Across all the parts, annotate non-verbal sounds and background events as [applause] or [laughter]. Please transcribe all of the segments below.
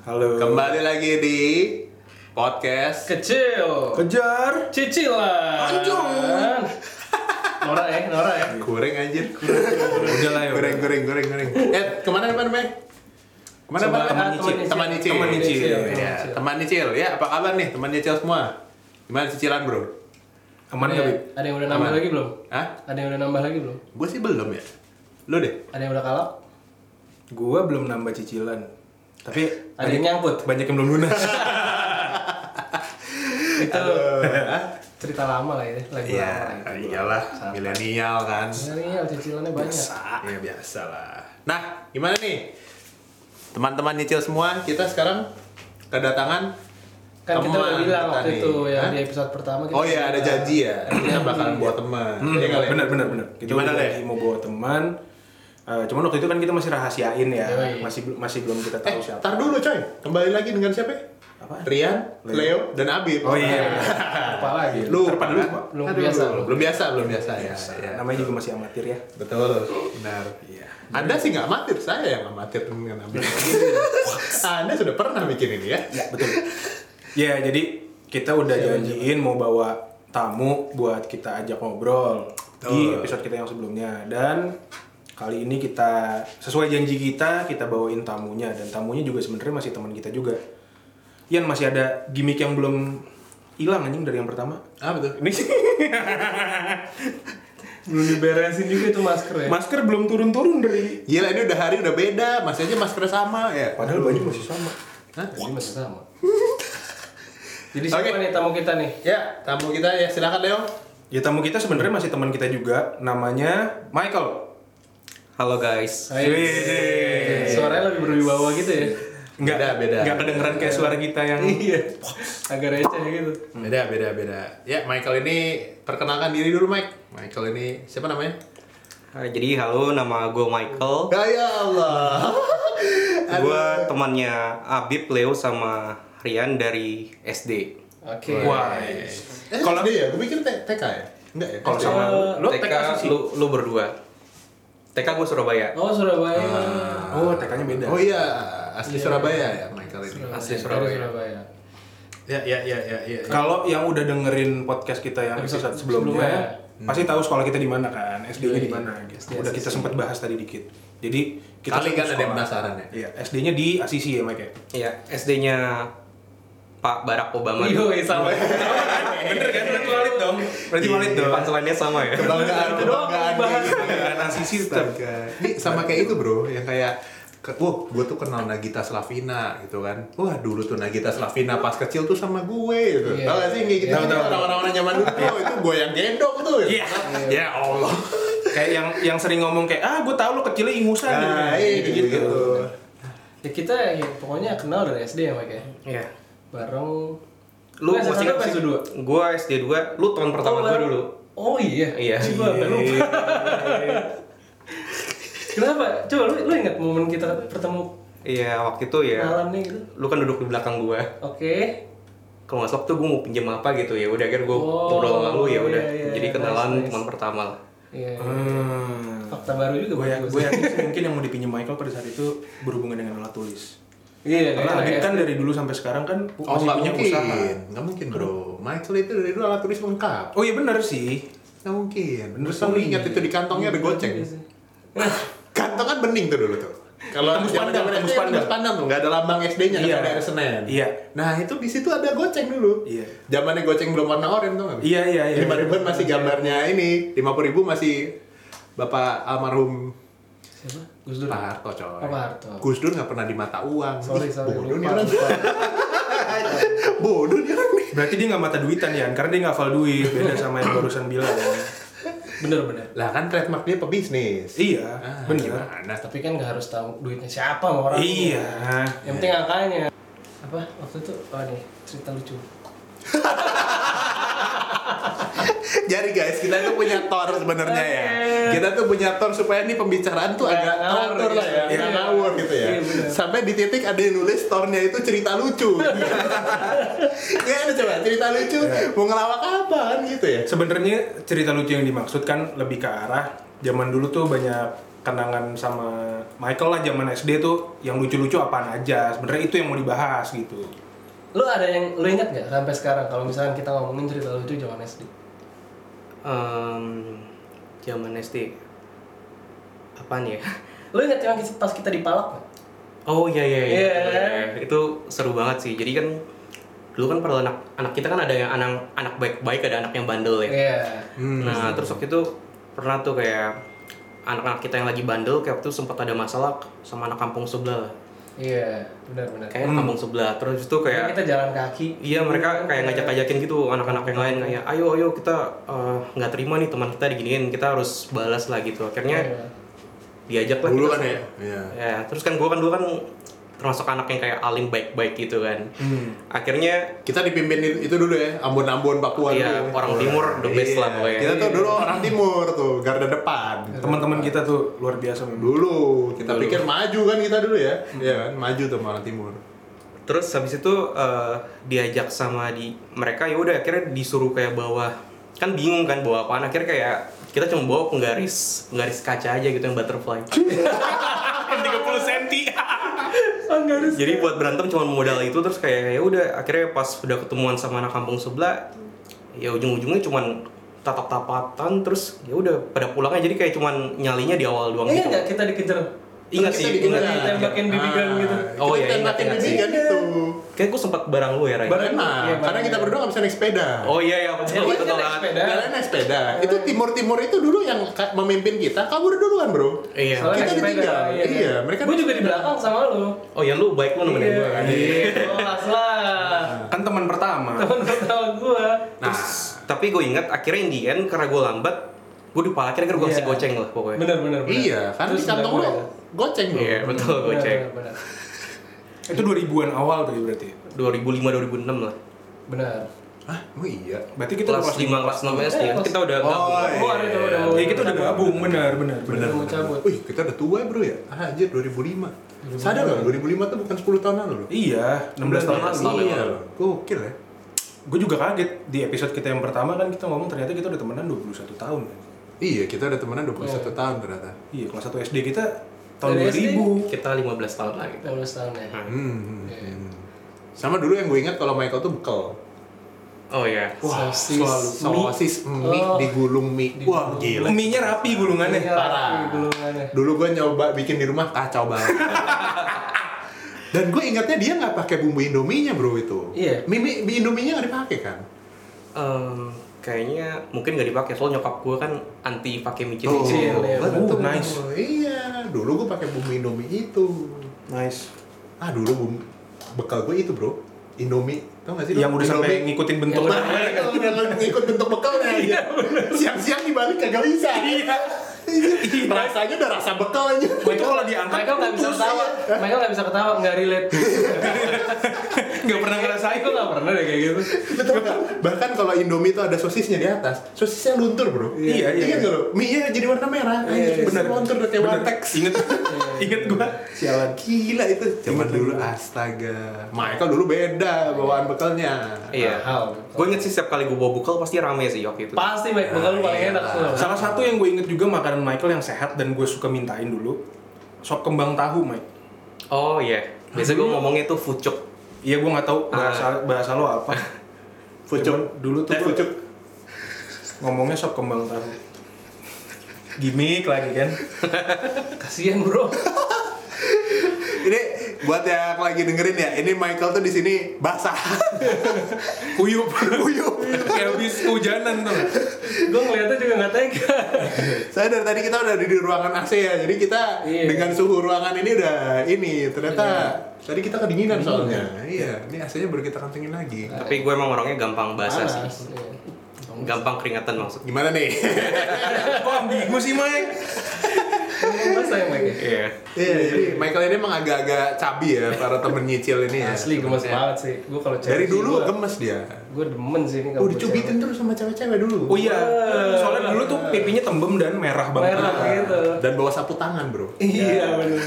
Halo. Kembali lagi di podcast Kecil. Kejar. Cicilan. Anjung. [laughs] Nora ya, Nora ya. goreng anjir. Udah lah ya. goreng, goreng, goreng, goreng. Eh, kemana apa namanya? Kemana apa? Teman Ah, Nicil. Teman Nicil. Teman Nicil. Iya, Teman Nicil. Teman Nicil. Ya, apa kabar nih teman Nicil semua? Gimana cicilan, Bro? Aman Iya. Ada- gak, Bib? Ada yang udah nambah Aman. lagi belum? Hah? Ada yang udah nambah lagi belum? Gue sih belum ya. Lu deh. Ada yang udah kalap? Gua belum nambah cicilan. Tapi Ada yang nyangkut. banyak yang belum [laughs] lunas. Itu Gitu. [laughs] cerita lama lah ya, lagu Iya. lama lah itu. iyalah, milenial kan. Milenial cicilannya banyak. Ya biasa lah. Nah, gimana nih? Teman-teman nyicil semua, kita sekarang kedatangan Kan kita udah teman bilang kita waktu nih. itu yang Hah? di episode pertama kita Oh iya, ada bilang, janji [clears throat] ya. Kita bakalan buat teman. Hmm, Hmm, Iya kali ya? bener bener bener. Kita Gimana udah deh? lagi mau bawa teman. Eh, cuman waktu itu kan kita masih rahasiain ya. Yoi. Masih belum masih belum kita Iya, Eh, tahu siapa. tar dulu coy. Kembali lagi dengan siapa? ya? Apa? Rian, Leo. Leo, dan Abib. Oh iya. Apa lagi? Lu Ntar pada lupa. Belum biasa, belum. kan? Belum biasa, belum biasa ya. ya. Namanya juga masih amatir ya. Betul, benar. Iya. Anda sih nggak amatir, saya yang amatir dengan Abib. Anda sudah pernah bikin ini ya? Ya, betul. ya, jadi kita udah janjiin mau bawa tamu buat kita ajak ngobrol di Betul. episode kita yang sebelumnya dan kali ini kita sesuai janji kita kita bawain tamunya dan tamunya juga sebenarnya masih teman kita juga. Yan masih ada gimmick yang belum hilang anjing dari yang pertama. Ah betul. Ini Belum diberesin juga itu masker ya. masker belum turun-turun dari Gila ini udah hari udah beda, masih aja maskernya sama ya. padahal baju masih sama. Hah? Jadi masih [laughs] sama. Jadi Oke. siapa nih tamu kita nih? Ya, tamu kita ya silakan Leo. Ya tamu kita sebenarnya masih teman kita juga namanya Michael. Halo guys. Hai. Suaranya lebih berwibawa gitu [laughs] ya. Nggak Beda, beda. nggak kedengeran kayak suara kita yang Iya. Agak receh gitu. Hmm. Beda, beda, beda. Ya, Michael ini perkenalkan diri dulu, Mike. Michael ini siapa namanya? Eh, Jadi halo nama gue Oh. Michael. Ya Allah. Gue temannya Abib, Leo sama Rian dari SD. Oke. Wah. Eh, kalau dia ya, gue pikir T- TK ya. Enggak ya. Kalau SD. sama lu TK sih. lu, lu berdua. TK gue Surabaya. Oh Surabaya. Ah. Oh, TK-nya beda. Oh iya, asli Surabaya ya Michael ini. Asli dari Surabaya. Surabaya. Iya, Ya, ya, ya, ya, ya. ya. Kalau yang udah dengerin podcast kita yang episode sebelumnya, Hmm. pasti tahu sekolah kita di mana kan, Iya, SD-nya di mana gitu. Udah kita sempat bahas tadi dikit. Jadi kita Kali kan satu ada yang sekolah. penasaran ya. Iya, SD-nya di Asisi ya, Mike. ya? Iya, SD-nya Pak Barack Obama. Iyo, sama. Bener kan? Berarti valid dong. iya. Berarti valid dong. Pancelannya sama ya. Kebanggaan, Itu doang kebanggaan. gitu ya. dibahas. kebanggaan. Karena Asisi tetap. Astaga. Ini sama kayak itu bro, yang kayak ke- Wah, gue tuh kenal Nagita Slavina gitu kan. Wah, dulu tuh Nagita Slavina pas kecil tuh sama gue gitu. Iya. Tau gak sih kayak gitu Tahu, tahu, tahu. orang-orang zaman dulu tuh, itu gue yang gendong tuh. [laughs] Iya. Ya Allah. Kayak yang yang sering ngomong kayak, "Ah, gue tahu lu kecilnya ingusan." Nah, iya, gitu, gitu. Ya kita ya, pokoknya kenal dari SD ya, Mike. ya? Iya. Bareng Lu Eh, masih SMA apa SD2? Gue SD 2, lu tahun pertama gue bareng- dulu. Oh iya. Iya. Coba lupa. Kenapa? Coba lu, lu ingat momen kita bertemu Iya, waktu itu ya. malam nih gitu. Lu kan duduk di belakang gue. Oke. Kalau nggak salah tuh gue mau pinjem apa gitu ya. Udah akhirnya gue Oh, ngobrol sama lu ya udah. iya, iya, Jadi nice, kenalan nice. teman pertama lah. Iya. Hmm. Fakta baru juga Gue bagus. gue yakin [laughs] sih mungkin yang mau dipinjam Michael pada saat itu berhubungan dengan alat tulis. Iya, Karena kayaknya Adit ya. kan dari dulu sampai sekarang kan Oh, masih nggak punya mungkin. usaha. Nggak mungkin bro. Michael itu dari dulu alat tulis lengkap. Oh iya benar sih. Nggak mungkin. Terus kamu ingat itu di kantongnya ada goceng. Iya, Kantong kan bening tuh dulu tuh. Kalau Tembus zaman pandang, zaman SD, tembus pandang. tembus pandang tuh, nggak ada lambang SD-nya, Iya. kan ada air Senen. Iya. Nah itu di situ ada goceng dulu. Iya. Zamannya goceng belum warna oranye tuh nggak? Iya iya iya. Lima ribuan masih gambarnya ini, lima puluh ribu masih bapak almarhum Siapa? Gus Dur. Pak Harto coy. Oh, Pak Harto. Gus Dur nggak pernah di mata uang. Sorry, Ih, sorry. Bodoh nih Lupa, orang. [laughs] Bodoh nih orang nih. Berarti dia nggak mata duitan ya, karena dia nggak hafal duit beda sama yang barusan [laughs] bilang. Bener bener. Lah kan trademark dia pebisnis. iya, Ah, bener. gimana? Tapi kan nggak harus tahu duitnya siapa sama orang. Iya. Yang penting angkanya. Apa? Waktu itu oh nih cerita lucu. Jadi guys, kita tuh punya tor sebenarnya ya. Kita tuh punya tor supaya nih pembicaraan Iya, tuh Nggak agak ngawur teratur lah ya, gitu. nggak Iya. ngawur gitu ya. Iya, benar. Sampai di titik ada yang nulis tornya itu cerita [laughs] lucu. Gimana coba cerita lucu Iya. mau ngelawak apa kan gitu ya? Sebenarnya cerita lucu yang dimaksud kan lebih ke arah zaman dulu tuh banyak kenangan sama Michael lah zaman SD tuh yang lucu-lucu apaan aja. Sebenarnya itu yang mau dibahas gitu. Lu ada yang lu inget gak sampai sekarang kalau misalkan kita ngomongin cerita lucu zaman SD? Em, zaman SD apaan ya [laughs] Lu inget yang kis- pas kita dipalak gak? oh iya iya iya Iya. Iya, itu seru banget sih jadi kan dulu kan pada anak anak kita kan ada yang anak anak baik baik ada anak yang bandel ya Iya. nah terus waktu itu pernah tuh kayak anak-anak kita yang lagi bandel kayak waktu itu sempat ada masalah sama anak kampung sebelah Iya, benar-benar. kayak anak kampung sebelah terus itu kayak Kayak kita jalan kaki. Iya mereka kayak ngajak-ngajakin gitu anak-anak yang lain kayak ayo ayo kita eh, nggak terima nih teman kita diginiin kita harus balas lah gitu akhirnya Iya. diajak lah Dulu kita kan ya? semua. Iya. Ya, terus kan gua kan dulu kan termasuk anak yang kayak alim baik-baik gitu kan Hmm. akhirnya Kita dipimpin itu dulu ya, Ambon-Ambon Papua dulu. Iya, Iya. orang timur the best lah pokoknya. Iya. Kita tuh dulu orang timur tuh, garda depan. Teman-teman kita tuh luar biasa memang. Dulu kita pikir maju kan kita dulu ya. Iya kan, maju tuh sama orang timur. terus habis itu eh, diajak sama di mereka ya udah akhirnya disuruh kayak bawa kan bingung kan bawa apaan akhirnya kayak kita cuma bawa penggaris penggaris kaca aja gitu yang butterfly 30 cm. Jadi buat berantem cuma modal itu terus kayak ya udah akhirnya pas udah ketemuan sama anak kampung sebelah ya ujung-ujungnya cuman tatap-tapatan terus ya udah pada pulangnya jadi kayak cuman nyalinya di awal doang Ingat gitu. nggak kita dikejar? Ingat Terus sih, kita bikin ingat. lah. Tembakin bibigan Ah, gitu. kita Oh, iya, ingat, tembakin ingat Iya. sih. bibigan itu. Kayak gue sempat barang lu ya, Ray. Barang- Enak, Iya, karena barang- kita berdua nggak bisa naik sepeda. Oh iya iya, aku Iya, tahu iya, itu kan tolak. sepeda. Jalan naik sepeda. Itu timur-timur itu dulu yang ka- memimpin kita kabur duluan, Bro. Iya. Soalnya- Kita ditinggal. Iya, mereka- Gue juga di belakang sama lu. Oh ya lu baik lu nemenin gue kan. Iya, kelas lah. Kan teman pertama. Temen pertama gue. Nah, tapi gue ingat akhirnya in the end karena gue lambat, gue dipala akhirnya gue Iya. kasih goceng lah pokoknya. Bener bener. bener. Iya, karena Terus di kantong bener, lo goceng bro. Iya, betul Oh, bener. goceng. Bener, bener, Itu 2000-an awal tuh ya berarti. 2005 2006 lah. Bener. Hah, emang iya? Berarti kita Kelas 5 kelas 6 SD kan kita udah gabung. Oh, Oh, ada tuh, udah iya. mau- Ya kita udah gabung, benar benar benar. Udah mau cabut. Wih, kita udah tua ya, bro ya? Ah, anjir, 2005. Sadar nggak 2005 tuh bukan 10 tahun lalu loh. Iya, 16 tahun lalu. tahun Iya, lalu. gokil ya. Gue juga kaget di episode kita yang pertama kan kita ngomong ternyata kita udah temenan 21 tahun kan. Iya, kita udah temenan 21 tahun ternyata. Iya, kelas 1 SD kita tahun Dari 2000. Kita 15 tahun lagi. Kita lulus tahun ya. Hmm, hmm, hmm. Sama dulu yang gue ingat kalau Michael tuh bekel. Oh iya. Wah, Sosis, selalu sosis mie Oh. digulung mie. Wah, gila. Mie-nya rapi gulungannya. Iya, parah. Gulungannya. Dulu gue nyoba bikin di rumah kacau banget. Dan gue ingatnya dia nggak pakai bumbu indominya bro itu. Iya. Mie, mie, mie indominya nggak dipakai kan? Em, kayaknya mungkin nggak dipakai soalnya nyokap gue kan anti pakai micin Tuh, micin iya, iya, Oh, betul. betul. Nice. Iya, dulu gue pakai bumbu indomie itu. Nice. Ah, dulu bumbu bekal gue itu bro. Indomie, tau gak sih? lu? Yang udah sampai Indomie. ngikutin bentuk. Nah, itu udah ngikut bentuk bekalnya aja. Siang-siang dibalik kagak bisa. Iya. Rasanya udah rasa bekal aja. Gua itu kalau diangkat Michael nggak bisa ketawa. iya. Michael nggak bisa ketawa, nggak relate. [laughs] nggak pernah ngerasain. Gue nggak pernah deh kayak gitu. Betul kan? Bahkan kalau Indomie itu ada sosisnya di atas, sosisnya luntur bro. Iya, iya. Ingat nggak lo? Mie-nya jadi warna merah. Anjir, Bener. bener. Luntur udah kayak Bener. warteg. Ingat. [laughs] Ingat gua. Sialan gila itu. Zaman dulu astaga. Michael dulu beda bawaan bekalnya. Iya. Mahal. Gue inget sih setiap kali gue bawa bekal pasti rame sih waktu itu. Pasti Mike bakal lu paling iya. enak tuh. Salah satu yang gue inget juga makanan Michael yang sehat dan gue suka mintain dulu sop kembang tahu, Mike. Oh iya. Biasanya gue ngomongnya tuh fucuk. Iya, gue nggak tahu bahasa bahasa lo apa. Fucuk. Cuman dulu tuh Eh, gua fucuk. ngomongnya sop kembang tahu. Gimik lagi kan. Kasian bro. Ini buat yang lagi dengerin ya, ini Michael tuh di sini basah. [laughs] Kuyup, Uyup. [laughs] kayak habis hujanan tuh. Gue ngeliatnya juga nggak tega. Saya dari tadi kita udah ada di ruangan AC ya, jadi kita Iya. dengan suhu ruangan ini udah ini ternyata tadi kita kedinginan soalnya. Iya, ini AC-nya baru kita kencengin lagi. Tapi gue emang orangnya gampang basah sih. Panas. Iya. Gampang keringatan maksud. Gimana nih? Kok ambigu sih, Mike? Ngomong Bahasa yang Mike. ya? Iya. Iya, jadi Michael ini emang agak-agak cabi ya para temen nyicil ini ya. Asli gemes banget sih. Gue kalau cewek Dari sih, dulu gua- gemes dia. gue demen sih ini Oh, kalau gua dicubitin cewek. terus sama cewek-cewek dulu. Oh iya, soalnya dulu tuh pipinya tembem dan merah banget. merah gitu Iya. Dan bawa sapu tangan, Bro. iya bener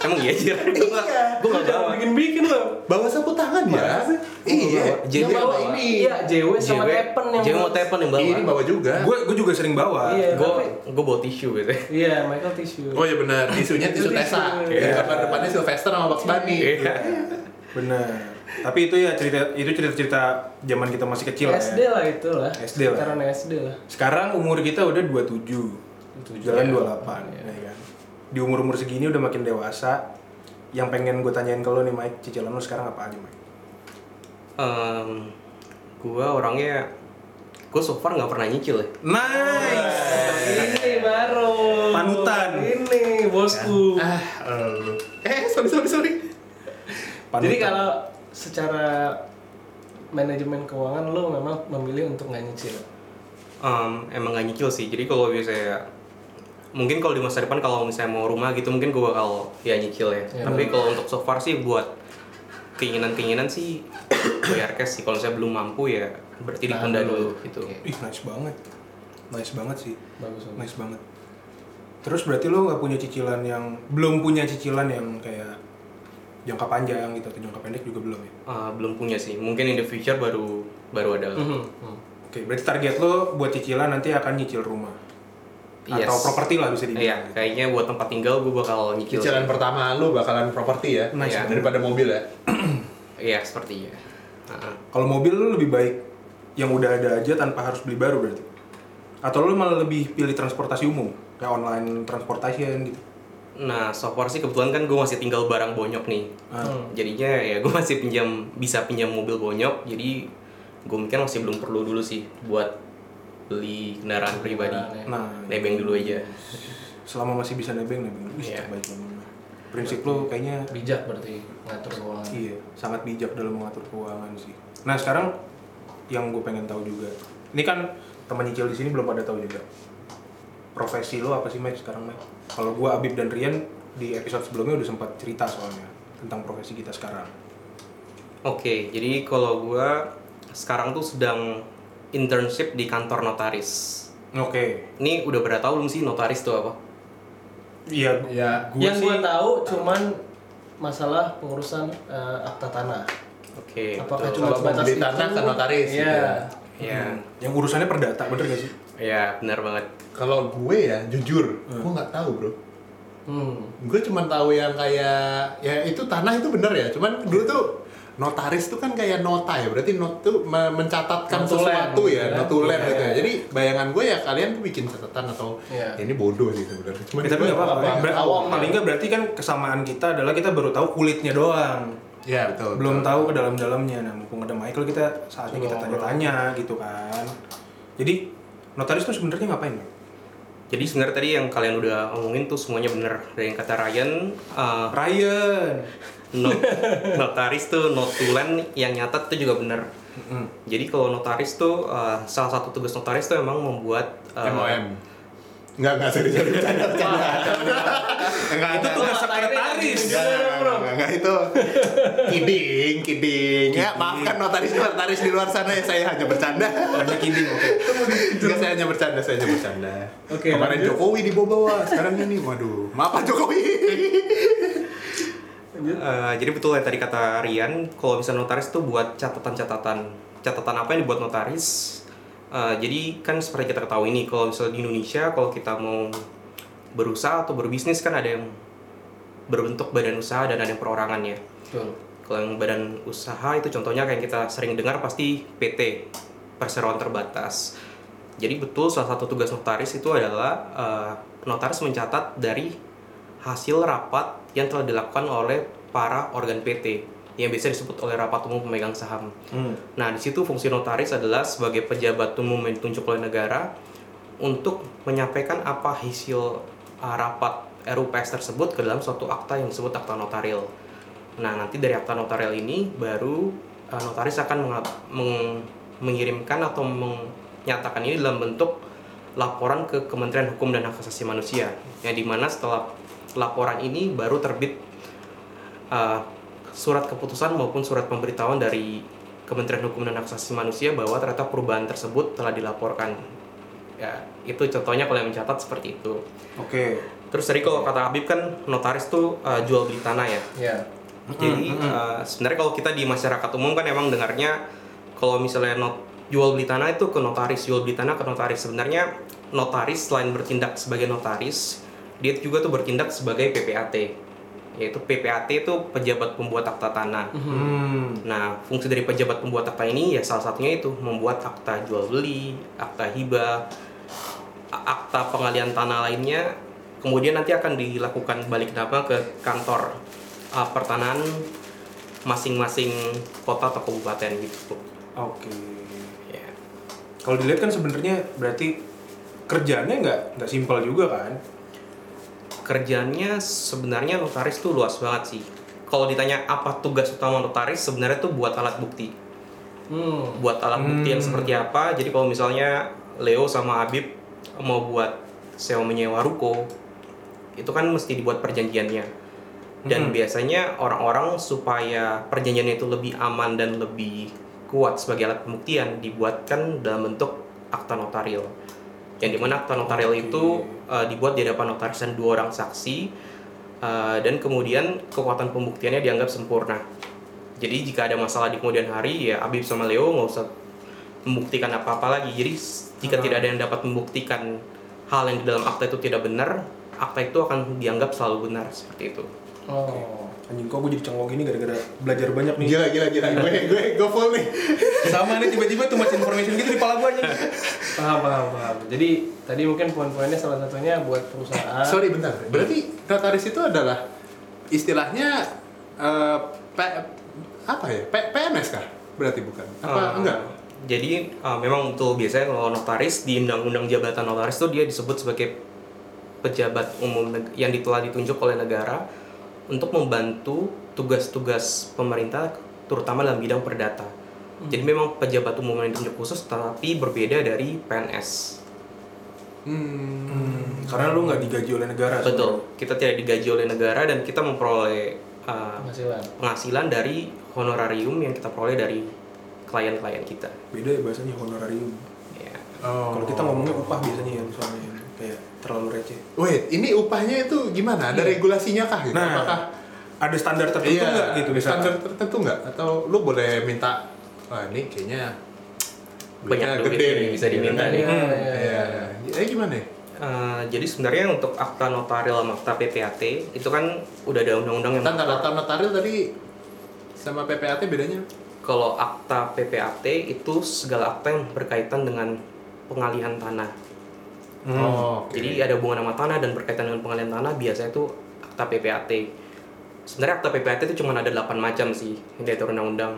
Emang iya anjir. Gua Iya. gak gua gak bawa. bikin bikin lo. Bawa sapu tangan ya? Masa sih? Iya. Jadi Yang bawa. bawa ini. Iya, JW sama JW Tepen yang JW mau bawa. tepen yang bawa. Ini bawa juga. Gue gue juga sering bawa. Iya. Gue tapi- gue bawa tisu gitu. Iya, Michael Tissue. Oh iya benar, tisunya tisu Tisu. Tessa. Iya. Iya. Kapan depannya Sylvester sama Bugs Bunny. Iya. Bener. Tapi itu ya cerita itu cerita-cerita zaman kita masih kecil lah SD ya. lah itu lah. SD lah. Sekitaran SD lah. Sekarang umur kita udah 27. 27, Jalan 28 ya kan. Di umur-umur segini udah makin dewasa. Yang pengen gue tanyain ke lo nih Mike, cicilan lo sekarang apa aja Mike? Em, gue orangnya gue so far nggak pernah nyicil ya. Nice. Ini baru. Panutan. Ini bosku. Ah, lu. Eh, sorry sorry sorry. Panutan. Jadi kalau secara manajemen keuangan lo memang memilih untuk nggak nyicil. Em, emang gak nyicil sih. Jadi kalau biasanya mungkin kalau di masa depan kalau misalnya mau rumah gitu mungkin gue bakal ya nyicil ya. Iya. Tapi kalau untuk so far sih buat keinginan-keinginan sih [coughs] bayar cash sih. Kalau saya belum mampu ya berarti Tahan ditunda dulu. dulu gitu. Oke. Ih, nice banget. Nice banget sih. Bagus bagus. Nice banget. Terus berarti lo nggak punya cicilan yang belum punya cicilan yang kayak jangka panjang gitu atau jangka pendek juga belum ya? Eh, belum punya sih. Mungkin in the future baru baru ada. Mhm, mhm. Oke, berarti target lo buat cicilan nanti akan nyicil rumah atau Yes. properti lah bisa dibilang. Iya, gitu. kayaknya buat tempat tinggal gue bakal nyicil. Cicilan pertama lu bakalan properti ya. Nice. Iya, Daripada mobil ya. Iya, sepertinya. Heeh. Kalau mobil lo lebih baik yang udah ada aja tanpa harus beli baru berarti. Atau lo malah lebih pilih transportasi umum kayak online transportation gitu. Nah, so far sih kebetulan kan gue masih tinggal barang bonyok nih. Ah. Jadinya ya gue masih pinjam bisa pinjam mobil bonyok. Jadi gue mikir masih belum perlu dulu sih buat beli kendaraan pribadi. Kendaraan, Nah, Nebeng dulu aja. selama masih bisa nebeng nebeng. Ih, Iya. baik banget. Prinsip lo kayaknya Bijak berarti ngatur keuangan. Iya, sangat bijak dalam mengatur keuangan sih. Nah sekarang yang gue pengen tahu juga, ini kan teman nyicil di sini belum pada tahu juga. Profesi lo apa sih Mike sekarang Mike? Kalau gue Abib dan Rian di episode sebelumnya udah sempat cerita soalnya tentang profesi kita sekarang. Oke, jadi kalau gue sekarang tuh sedang internship di kantor notaris. Oke, Ini udah berapa tahun belum sih notaris tuh apa? iya. Iya. Gua yang gue sih- tahu cuman masalah pengurusan eh, akta tanah. Oke. Apakah betul. cuma Kalau mau sebatas beli itu? tanah ke notaris Iya. gitu ya. Iya. Hmm. Yang urusannya perdata, bener gak sih? Iya, benar banget. Kalau gue ya jujur, gue nggak tahu, Bro. Hmm. Gue cuma tahu yang kayak ya itu tanah itu bener ya. Cuman dulu tuh notaris tuh kan kayak nota ya. Berarti not tuh me- mencatatkan Notulen, sesuatu ya, ya. notulen Iya, gitu ya. iya. Jadi bayangan gue ya kalian tuh bikin catatan atau Iya. ya ini bodoh sih sebenarnya. Cuman Eh, tapi gue nggak apa-apa. nggak Ber- tahu. Paling nggak berarti kan kesamaan kita adalah kita baru tahu kulitnya doang. Iya, betul. belum betul. tahu ke dalam-dalamnya. Nah, mumpung ada Michael kita saatnya kita tanya-tanya gitu kan. Jadi notaris tuh sebenarnya ngapain? Bang? Jadi sebenarnya tadi yang kalian udah omongin tuh semuanya bener dari yang kata Ryan eh, Ryan. not- notaris tuh notulen yang nyata tuh juga bener. Mm-mm. Jadi kalau notaris tuh eh, salah satu tugas notaris tuh emang membuat eh, MOM. Enggak, enggak serius. serius, Bercanda, bercanda. Enggak, Itu enggak. tugas sekretaris. Enggak, enggak, enggak, enggak, enggak, itu kidding, kidding. Ya, maafkan notaris notaris di luar sana ya saya hanya bercanda. Hanya kidding, oke. Enggak, saya hanya bercanda, saya hanya bercanda. Oke, Kemarin lanjut. Jokowi dibawa-bawa, sekarang ini waduh. Maaf Pak Jokowi. Eh, jadi betul ya tadi kata Rian, kalau misalnya notaris tuh buat catatan-catatan. Catatan apa yang dibuat notaris? Eh, jadi kan seperti kita ketahui nih, kalau misalnya di Indonesia, kalau kita mau berusaha atau berbisnis kan ada yang berbentuk badan usaha dan ada yang perorangan ya. Betul. Kalau yang badan usaha itu contohnya kayak yang kita sering dengar pasti PT, perseroan terbatas. Jadi betul salah satu tugas notaris itu adalah eh, notaris mencatat dari hasil rapat yang telah dilakukan oleh para organ PT yang biasa disebut oleh rapat umum pemegang saham. Hmm. Nah, di situ fungsi notaris adalah sebagai pejabat umum yang ditunjuk oleh negara untuk menyampaikan apa hasil uh, rapat RUPS tersebut ke dalam suatu akta yang disebut akta notaril. Nah, nanti dari akta notaril ini baru uh, notaris akan menga- meng- mengirimkan atau menyatakan ini dalam bentuk laporan ke Kementerian Hukum dan Hak Asasi Manusia. Yang dimana setelah laporan ini baru terbit uh, surat keputusan maupun surat pemberitahuan dari Kementerian Hukum dan Hak Asasi Manusia bahwa ternyata perubahan tersebut telah dilaporkan. Ya, itu contohnya kalau yang mencatat seperti itu. Oke. Terus tadi kalau kata Habib kan notaris tuh eh, jual beli tanah ya. ya Jadi eh, sebenarnya kalau kita di masyarakat umum kan emang dengarnya kalau misalnya not jual beli tanah itu ke notaris, jual beli tanah ke notaris. Sebenarnya notaris selain bertindak sebagai notaris, dia juga tuh bertindak sebagai PPAT. Yaitu PPAT itu pejabat pembuat akta tanah. Hmm. Nah, fungsi dari pejabat pembuat akta ini ya salah satunya itu membuat akta jual beli, akta hibah, a- akta pengalian tanah lainnya. Kemudian nanti akan dilakukan balik nama ke kantor uh, pertanahan masing-masing kota atau kabupaten gitu. Oke. Ya. Kalau dilihat kan sebenarnya berarti kerjaannya nggak nggak simpel juga kan? Kerjaannya sebenarnya notaris tuh luas banget sih. Kalau ditanya apa tugas utama notaris sebenarnya tuh buat alat bukti. hmm buat alat bukti yang seperti apa. Jadi kalau misalnya Leo sama Habib mau buat sewa menyewa ruko, itu kan mesti dibuat perjanjiannya. Dan biasanya orang-orang supaya perjanjiannya itu lebih aman dan lebih kuat sebagai alat pembuktian dibuatkan dalam bentuk akta notaril. Yang dimana akta notaril itu eh, dibuat di hadapan notaris dan dua orang saksi. eh, dan kemudian kekuatan pembuktiannya dianggap sempurna. Jadi jika ada masalah di kemudian hari ya Abib sama Leo nggak usah membuktikan apa-apa lagi. Jadi s- jika tidak ada yang dapat membuktikan hal yang di dalam akta itu tidak benar, akta itu akan dianggap selalu benar seperti itu. oh Anjing kok gue jadi cengok gini gara-gara belajar banyak nih. Gila, gila, gila. Gue, gue, gue full nih. Sama nih tiba-tiba tuh much information gitu di kepala gue aja. paham paham paham jadi tadi mungkin poin-poinnya salah satunya buat perusahaan Sorry, bentar. Berarti notaris itu adalah istilahnya eh, P- apa ya? P- PNS kah? Berarti bukan? Apa Eh, enggak? Jadi eh, memang betul biasanya kalau notaris di undang-undang jabatan notaris itu dia disebut sebagai pejabat umum neg- yang telah ditunjuk oleh negara untuk membantu tugas-tugas pemerintah terutama dalam bidang perdata. Hmm. Jadi memang pejabat umum yang ditunjuk khusus tapi berbeda dari PNS. Hmm. Karena lu nggak digaji oleh negara. Betul. Kita tidak digaji oleh negara dan kita memperoleh uh, Ya. penghasilan penghasilan dari honorarium yang kita peroleh dari klien-klien kita. sebenarnya. Beda ya bahasanya honorarium. Ya. Oh. Kalau kita ngomongnya upah biasanya ya soalnya kayak terlalu receh. Wait, ini upahnya itu gimana? Ada regulasinya kah? Gitu? Iya. Nah, Apakah ada standar tertentu iya, nggak gitu misalnya? standar tertentu nggak? Atau lu boleh minta, wah ini kayaknya duitnya Banyak duit gede nih, nih. bisa diminta Gitu nih. kan? Hmm. Iya, iya, iya. Eh gimana ya? Uh, jadi sebenarnya untuk akta notaril sama akta PPAT itu kan udah ada undang-undang yang Tanda data notaril tadi sama PPAT bedanya? kalau akta PPAT itu segala akta yang berkaitan dengan pengalihan tanah. Hmm. Oh, oke. Jadi ada hubungan sama tanah dan berkaitan dengan pengalihan tanah biasanya itu akta PPAT. Sebenarnya akta PPAT itu cuma ada 8 macam sih yang diatur undang-undang.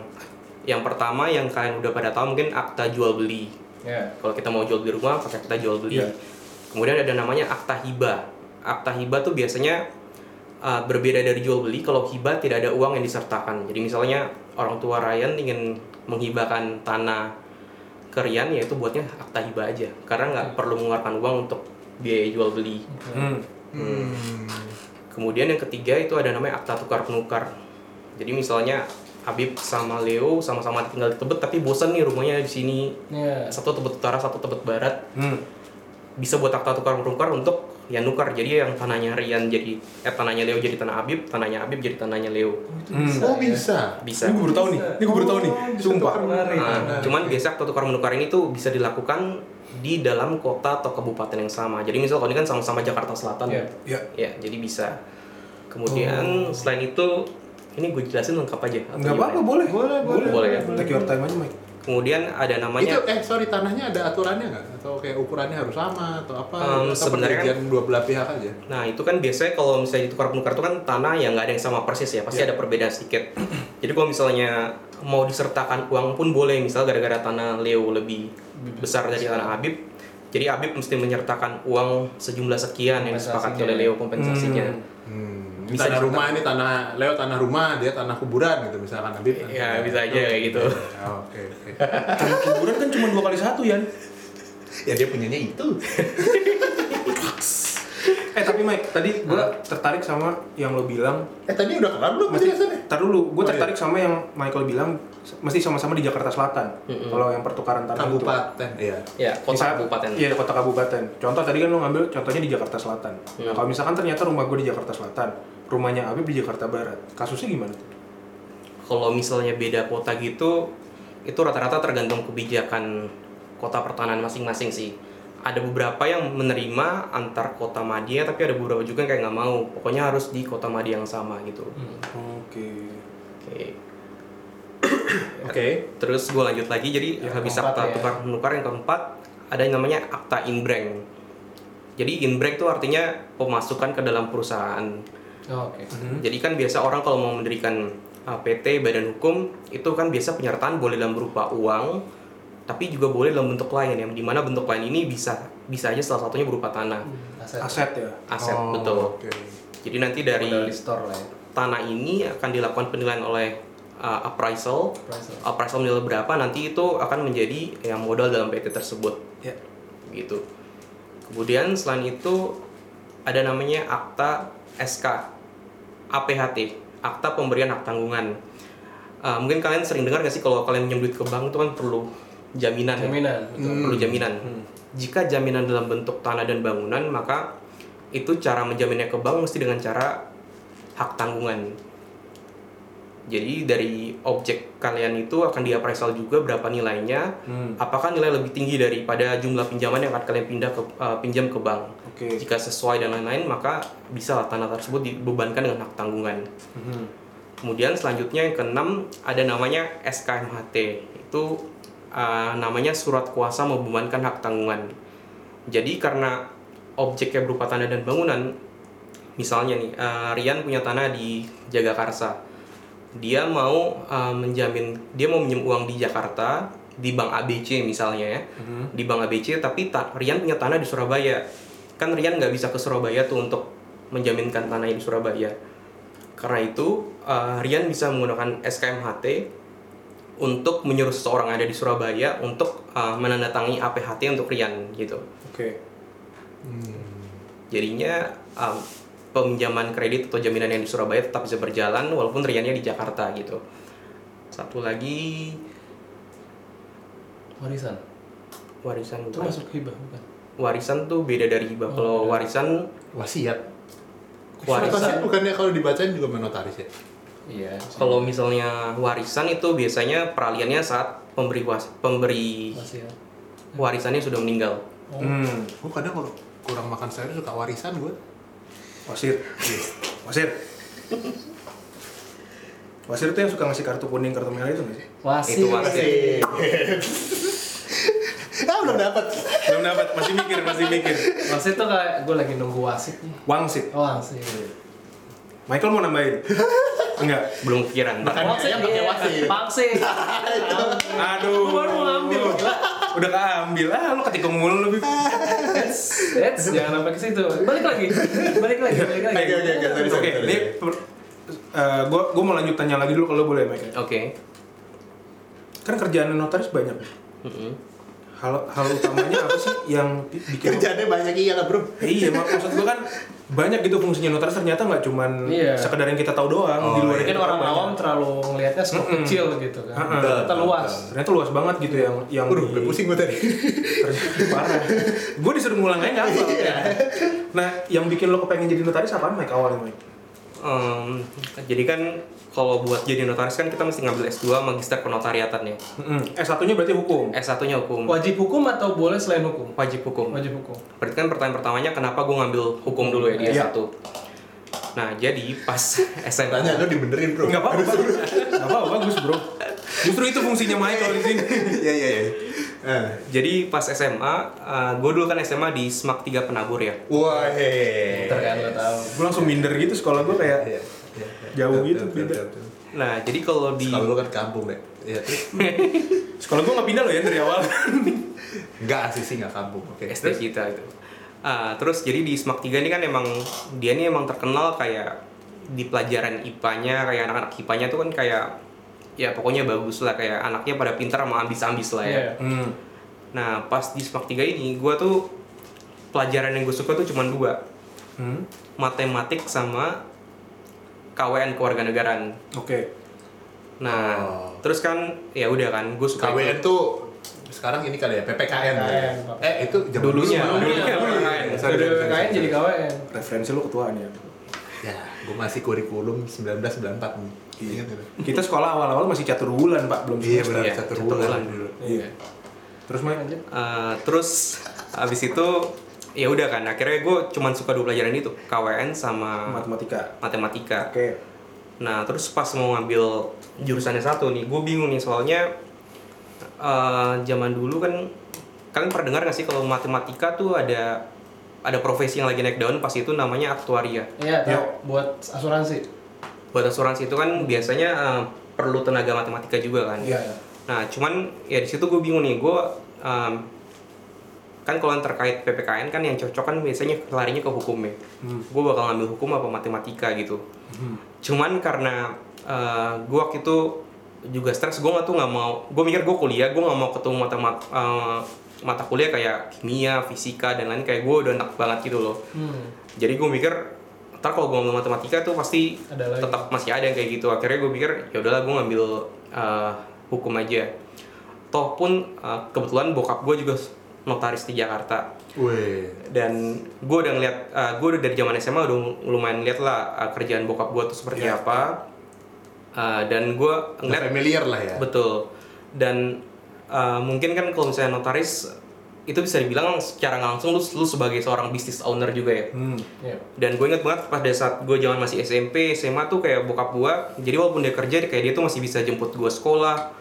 Yang pertama yang kalian udah pada tahu mungkin akta jual beli. ya Kalau kita mau jual beli rumah pakai akta jual beli. Iya. Kemudian ada namanya akta hibah. Akta hibah tuh biasanya uh, berbeda dari jual beli kalau hibah tidak ada uang yang disertakan. Jadi misalnya orang tua Ryan ingin menghibahkan tanah ke Ryan yaitu buatnya akta hibah aja karena nggak perlu mengeluarkan uang untuk biaya jual beli. Hmm. Hmm. Kemudian yang ketiga itu ada namanya akta tukar penukar. Jadi misalnya Habib sama Leo sama-sama tinggal di Tebet tapi bosan nih rumahnya di sini ya satu Tebet Utara satu Tebet Barat Hmm. bisa buat akta tukar menukar untuk ya nukar jadi yang tanahnya Rian jadi eh tanahnya Leo jadi tanah Habib tanahnya Habib jadi tanahnya Leo Oh ya. bisa. Oh, bisa hmm. Ini ya? gue baru tahu nih. Ini gue baru tahu nih. Sumpah. menarik Nah, cuman biasa akta tukar menukar ini tuh bisa dilakukan di dalam kota atau kabupaten yang sama jadi misal kalau ini kan sama-sama Jakarta Selatan Iya. Iya. Oh. ya jadi bisa kemudian selain itu ini gue jelasin lengkap aja atau Nggak gimana? apa-apa boleh. Boleh, boleh. Iya. Boleh ya? Take your time aja, Mike. kemudian ada namanya Itu eh sorry tanahnya ada aturannya nggak? Atau kayak ukurannya harus sama atau apa? Em, atau sebenarnya kan perjanjian dua belah pihak aja. Nah itu kan biasanya kalau misalnya ditukar penukar itu kan tanah yang nggak ada yang sama persis ya pasti ada perbedaan sedikit. Jadi kalau misalnya mau disertakan uang pun boleh misal gara-gara tanah Leo lebih besar dari tanah Habib, jadi Habib mesti menyertakan uang sejumlah sekian yang disepakati Kompensasinya. oleh Leo kompensasinya. Hmm. Bisa tanah disertakan. rumah ini tanah Leo tanah rumah dia tanah kuburan gitu misalkan Habib. Ya, bisa aja kayak gitu. Ya, Oke oke. Tanah kuburan kan cuma dua kali satu, Yan. ya dia punyanya itu. Eh tapi Mike, tadi gue tertarik sama yang lo bilang Eh tadi udah kelar belum penjelasannya? tar dulu, gue Oh, iya. tertarik sama yang Michael bilang mesti sama-sama di Jakarta Selatan. Mm-mm. Kalau yang pertukaran tanah itu. kabupaten iya Ya, Misal- kota kabupaten. Iya, kota kabupaten. Contoh tadi kan lo ngambil contohnya di Jakarta Selatan. Nah, Hmm. kalau misalkan ternyata rumah gue di Jakarta Selatan, rumahnya Abi di Jakarta Barat. Kasusnya gimana? tuh? Kalau misalnya beda kota gitu, itu rata-rata tergantung kebijakan kota pertahanan masing-masing sih. Ada beberapa yang menerima antar kota madya, tapi ada beberapa juga yang kayak nggak mau. Pokoknya harus di kota madya yang sama gitu. Hmm. Oke. [coughs] Oke. oke Terus gue lanjut lagi, jadi Yang habis keempat akta ya. tukar menukar yang keempat ada yang namanya akta inbreng. Jadi inbreng itu artinya pemasukan ke dalam perusahaan. Oh, Oke. Mhm. Jadi kan biasa orang kalau mau mendirikan uh, PT badan hukum itu kan biasa penyertaan boleh dalam berupa uang, tapi juga boleh dalam bentuk lain yang dimana bentuk lain ini bisa bisa aja salah satunya berupa tanah, Aset. Aset ya. aset Oh, betul. oke. Jadi nanti dari Modal di store lah ya. tanah ini akan dilakukan penilaian oleh uh, appraisal Price lah. appraisal nilai berapa nanti itu akan menjadi yang modal dalam PT tersebut Ya. gitu kemudian selain itu ada namanya akta SK APHT akta pemberian hak tanggungan Eh, mungkin kalian sering dengar nggak sih kalau kalian pinjam duit ke bank itu kan perlu jaminan ya? Jaminan. betul. perlu jaminan jika jaminan dalam bentuk tanah dan bangunan maka itu cara menjaminnya ke bank mesti dengan cara hak tanggungan jadi dari objek kalian itu akan diapresal juga berapa nilainya Hmm. apakah nilai lebih tinggi daripada jumlah pinjaman yang akan kalian pindah ke eh, pinjam ke bank Oke. jika sesuai dan lain-lain maka bisa lah tanah tersebut dibebankan dengan hak tanggungan Mhm. Kemudian selanjutnya yang keenam ada namanya SKMHT. Itu uh, namanya surat kuasa membebankan hak tanggungan. Jadi karena objeknya berupa tanah dan bangunan, misalnya nih uh, Rian punya tanah di Jagakarsa. Dia mau uh, menjamin dia mau minjem uang di Jakarta di Bank ABC misalnya ya. Di Bank ABC tapi ta- Rian punya tanah di Surabaya. Kan Rian nggak bisa ke Surabaya tuh untuk menjaminkan tanah di Surabaya. Karena itu, eh, Rian bisa menggunakan SKMHT untuk menyuruh seseorang yang ada di Surabaya untuk eh, menandatangani APHT untuk Rian gitu. Oke. Jadinya em, peminjaman kredit atau jaminan yang di Surabaya tetap bisa berjalan walaupun Riannya di Jakarta gitu. Satu lagi Hmm. Warisan. warisan Itu masuk hibah bukan? warisan tuh beda dari hibah. Kalau warisan wasiat Warisan. wasiat bukannya kalau dibacain juga menotaris ya Iya. kalau misalnya warisan itu biasanya peralihannya saat pemberi was- pemberi Masih ya. warisannya sudah meninggal. Oh. Hmm. gue kadang kalau kurang makan sayur suka warisan gue Wasir. Wasir. Wasir tuh yang suka ngasih kartu kuning, kartu merah itu nggak sih? Wasit. Itu wasit. [laughs] ah belum dapat Belum dapat, masih mikir, masih mikir. Wasit tuh kayak gue lagi nunggu wasit nih. Wangsit. Oh, wasit. Iya. Michael mau nambahin? Enggak. belum kepikiran. Makan ayam pakai iya. wasit. [laughs] Wasit. Gua Aduh. baru mau ngambil, gila. Udah keambil. Ah, lu ketikung mulu lebih. Eits, jangan sampai ke situ. Balik lagi. Balik lagi, balik lagi. Oke, oke, oke, sorry, Oke, sorry, sorry. ini gue gue mau lanjut tanya lagi dulu kalau boleh Michael. Oke. Kan kerjaan notaris banyak. Mm-mm. Hal hal utamanya apa sih yang bi- bikin kerjaannya banyak iya lah bro Iya, mak maksud gue kan banyak gitu fungsinya notaris ternyata nggak cuman Iya. sekedar yang kita tahu doang Oh, di luar Mungkin itu orang banyak. awam terlalu ngelihatnya skop kecil gitu kan. Mm-mm. Ternyata luas. ternyata luas banget gitu yang yang Waduh, di- udah pusing gue tadi terjadi parah. gue disuruh ngulang aja nggak apa. Iya. Nah, yang bikin lo kepengen jadi notaris apaan Mike awalnya Mike? Em, jadi kan kalau buat jadi notaris kan kita mesti ngambil S2 magister penotariatan ya. Mm-mm. S satunya berarti hukum. S1-nya hukum, Wajib hukum atau boleh selain hukum? wajib hukum. Wajib hukum. Berarti kan pertanyaan pertamanya kenapa gue ngambil hukum dulu ya di Iya. S1. Nah, jadi pas [laughs] tanya SMA lo dibenerin bro Nggak apa-apa, bagus. nggak apa-apa, bagus bro. Justru itu fungsinya Michael di sini. [laughs] iya iya iya Eh. jadi pas SMA, gue dulu kan SMA di SMAK 3 Penabur ya. wah iya, hehehe Pinter kan lo tahu. Gue langsung minder gitu sekolah gue kayak Iya, iya, Jauh iya. gitu, Betul, beda. betul, betul. Nah, jadi kalau di kalau lu kan kampung deh ya terus sekolah gue nggak pindah loh ya dari awal. nggak asli sih nggak kampung oke SD terus kita gitu. Ah, terus jadi di SMAK 3 ini kan emang dia ini emang terkenal kayak di pelajaran IPA-nya kayak anak-anak IPA-nya tuh kan kayak ya pokoknya bagus lah kayak anaknya pada pintar sama ambis-ambis lah ya. Iya. Hmm. Nah, pas di SMAK 3 ini gua tuh pelajaran yang gue suka tuh cuma dua, Hmm. matematik sama KWN kewarganegaraan. Oke. Nah, terus kan ya udah kan gue suka KWN tuh sekarang ini kali ya PPKN, ya? PPKN. Eh itu zaman dulu Dulunya. Iya, mana? Iya, Dulunya, PPKN. Ya, sorry, Dari sorry, PPKN sorry. jadi KWN. Referensi lu ketuaan ya. Ya, gue masih kurikulum 1994 nih. Ingat nggak? Kita sekolah awal-awal masih catur bulan, Pak, belum Iya semester. benar Iya, satu catur bulan bulan. dulu. Iya. Terus Mike? Lanjut. Eh, terus abis itu ya udah kan akhirnya gue cuman suka dua pelajaran itu KWN sama matematika. matematika. Oke. Nah terus pas mau ngambil jurusannya satu nih, gue bingung nih soalnya eh, zaman dulu kan kalian pernah dengar nggak sih kalau matematika tuh ada ada profesi yang lagi naik daun pas itu namanya aktuaria. Iya, tahu buat asuransi. Buat asuransi itu kan biasanya eh, perlu tenaga matematika juga kan. Iya. Nah, cuman ya di situ gue bingung nih, gue um, kan kalau yang terkait PPKN kan yang cocok kan biasanya larinya ke hukum ya. Gue bakal ngambil hukum apa matematika gitu. Cuman karena uh, gue waktu itu juga stres, gue nggak tuh nggak mau, gue mikir gue kuliah, gue nggak mau ketemu mata mat- uh, mata kuliah kayak kimia, fisika dan lain kayak gue udah enak banget gitu loh. Hmm. Jadi gue mikir ntar kalau gue ngambil matematika tuh pasti Ada lagi. tetap masih ada yang kayak gitu. Akhirnya gue pikir ya udahlah gue ngambil eh, hukum aja. Toh pun eh, kebetulan bokap gue juga notaris di Jakarta Wih, dan gue udah ngeliat eh, gue udah dari zaman SMA udah lumayan liat lah eh, kerjaan bokap gue tuh seperti Iya. apa. Eh, dan gue nggak ngeliat familiar lah ya. Betul. Dan uh, mungkin kan kalau misalnya notaris itu bisa dibilang secara nggak langsung lu, lu sebagai seorang business owner juga ya. Hmm. Iya. Dan gue ingat banget pada saat gue zaman masih SMP, SMA tuh kayak bokap gue, jadi walaupun dia kerja, kayak dia tuh masih bisa jemput gue sekolah,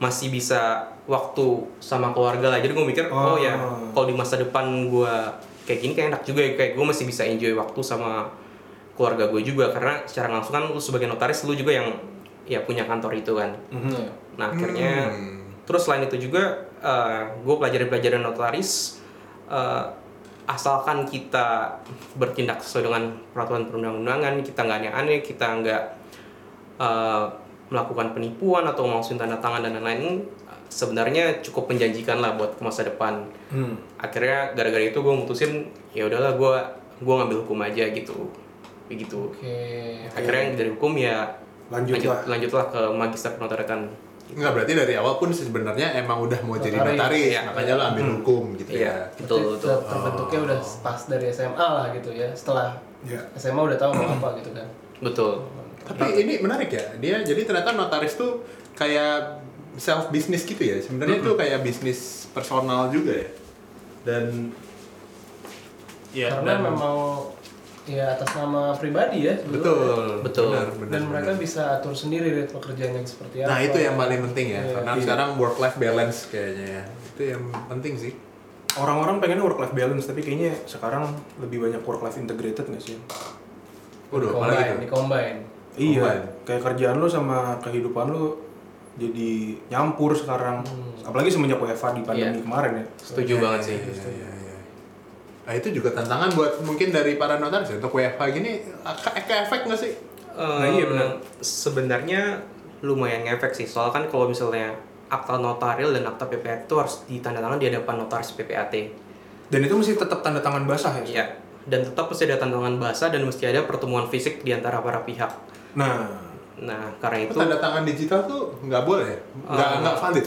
masih bisa waktu sama keluarga lah. Jadi gue mikir, oh, Oh. ya, kalau di masa depan gue kayak gini kayak enak juga ya, kayak gue masih bisa enjoy waktu sama keluarga gue juga. Karena secara nggak langsung kan lu sebagai notaris, lu juga yang ya punya kantor itu kan. Iya. Nah akhirnya terus selain itu juga gue pelajari pelajaran notaris eh, asalkan kita bertindak sesuai dengan peraturan perundang-undangan kita nggak aneh-aneh kita nggak eh, melakukan penipuan atau maksud tanda tangan dan lain-lain sebenarnya cukup menjanjikan lah buat masa depan Hmm. akhirnya gara-gara itu gue mutusin ya udahlah gue gue ngambil hukum aja gitu begitu Oke. akhirnya dari hukum ya Lanjut lah. lanjutlah ke magister penotariatan Nggak berarti dari awal pun sebenarnya emang udah mau jadi Notaris. notaris, Iya. makanya lo ambil hukum gitu Iya, ya. betul Berarti betul. ter- Terbentuknya udah pas dari SMA lah gitu ya. Setelah Iya. SMA udah tahu mau apa gitu kan. Betul. Nah. Tapi ini menarik ya. Dia jadi ternyata notaris tuh kayak self business gitu ya. Sebenarnya tuh kayak bisnis personal juga ya. Dan ya Karena memang ya atas nama pribadi ya. dulu. betul Betul. benar, benar, Dan mereka benar. bisa atur sendiri ritme kerjanya yang seperti apa. Nah itu yang paling penting ya, Iya, karena iya. sekarang work life balance kayaknya ya. Itu yang penting sih. Orang-orang pengennya work life balance, tapi kayaknya sekarang lebih banyak work life integrated nggak sih? Waduh, apalagi Combine, itu. di-combine. Iya, kayak kerjaan lu sama kehidupan lu jadi nyampur sekarang. Apalagi semenjak WFA di pandemi kemarin ya. Setuju banget sih. Iya, iya, iya. Nah itu juga tantangan buat mungkin dari para notaris ya, untuk WFH gini, eh, ke, ke efek nggak sih? Nah, iya, benar. Sebenarnya lumayan ngefek sih. Soalnya kan kalau misalnya akta notaril dan akta PPAT itu harus ditandatangan di hadapan notaris PPAT. Dan itu mesti tetap tanda tangan basah ya. Iya. Dan tetap mesti ada tanda tangan bahasa dan mesti ada pertemuan fisik di antara para pihak. Nah, Nah, karena itu Tanda tangan digital tuh nggak boleh, ya? nggak Ah. Eh, nggak valid.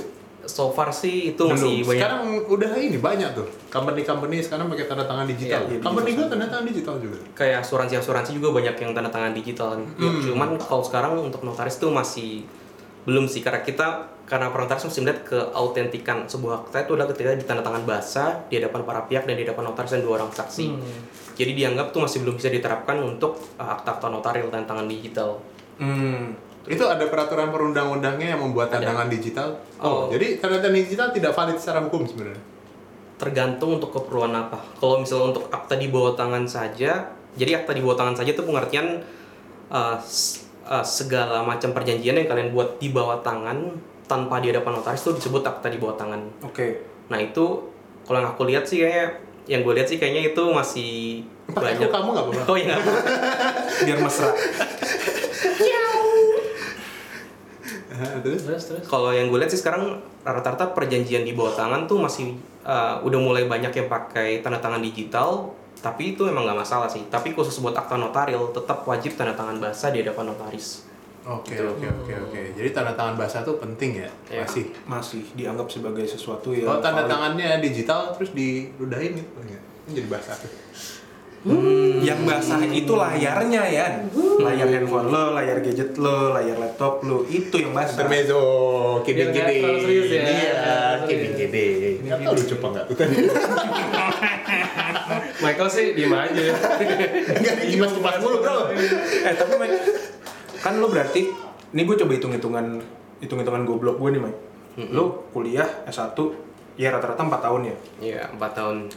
so far sih itu Belum. masih banyak Sekarang udah ini banyak tuh, company-company sekarang pakai tanda tangan digital. Iya, iya, company digital. gue tanda tangan digital juga. kayak asuransi-asuransi juga banyak yang tanda tangan digital. kan. Cuman kalau sekarang untuk notaris tuh masih belum sih karena kita karena para notaris mesti melihat keautentikan sebuah akta itu adalah ketika ditanda tangan bahasa di hadapan para pihak dan di hadapan notaris dan dua orang saksi. Jadi dianggap tuh masih belum bisa diterapkan untuk uh, akta-akta notaril tanda tangan digital. hmm, Itu ada peraturan perundang-undangnya yang membuat tanda tangan digital. Oh, Oh. jadi tanda tangan digital tidak valid secara hukum sebenarnya. [laughs] Tergantung untuk keperluan apa. Kalau misalnya untuk akta di bawah tangan saja, jadi akta di bawah tangan saja itu pengertian uh, s- uh, segala macam perjanjian yang kalian buat di bawah tangan tanpa di hadapan notaris itu disebut akta di bawah tangan. oke. Nah itu kalau yang aku lihat sih kayaknya yang gue lihat sih kayaknya itu masih Pakai aku banyak. kamu nggak apa-apa. Oh [laughs] iya. nggak apa-apa. Biar mesra. Hah, Terus? Terus terus. kalau yang gue lihat sih sekarang eh, rata-rata perjanjian di bawah tangan tuh masih uh, udah mulai banyak yang pakai tanda tangan digital tapi itu emang nggak masalah sih tapi khusus buat akta notaril tetap wajib tanda tangan basah di hadapan notaris Oke oke oke oke. Jadi tanda tangan basah tuh penting ya Iya. masih. Iya, masih dianggap sebagai sesuatu yang Kalau Oh, tanda valid. tangannya digital terus diludahin gitu ya. Ini jadi basah. yang basah itu layarnya ya layar handphone lo layar gadget lo layar laptop lo itu yang basah Intermezzo, kidding Biar nggak kidding. terlalu serius ya. Iya, Terlalu kidding serius. kidding. Nggak tahu lucu apa nggak tuh tadi. Michael sih diem [laughs] aja Nggak dikipas kipas mulu bro. eh tapi Mike kan lo berarti ini gue coba hitung hitungan hitung hitungan goblok gue nih Mike lo kuliah S1 ya rata-rata 4 tahun ya ya empat tahun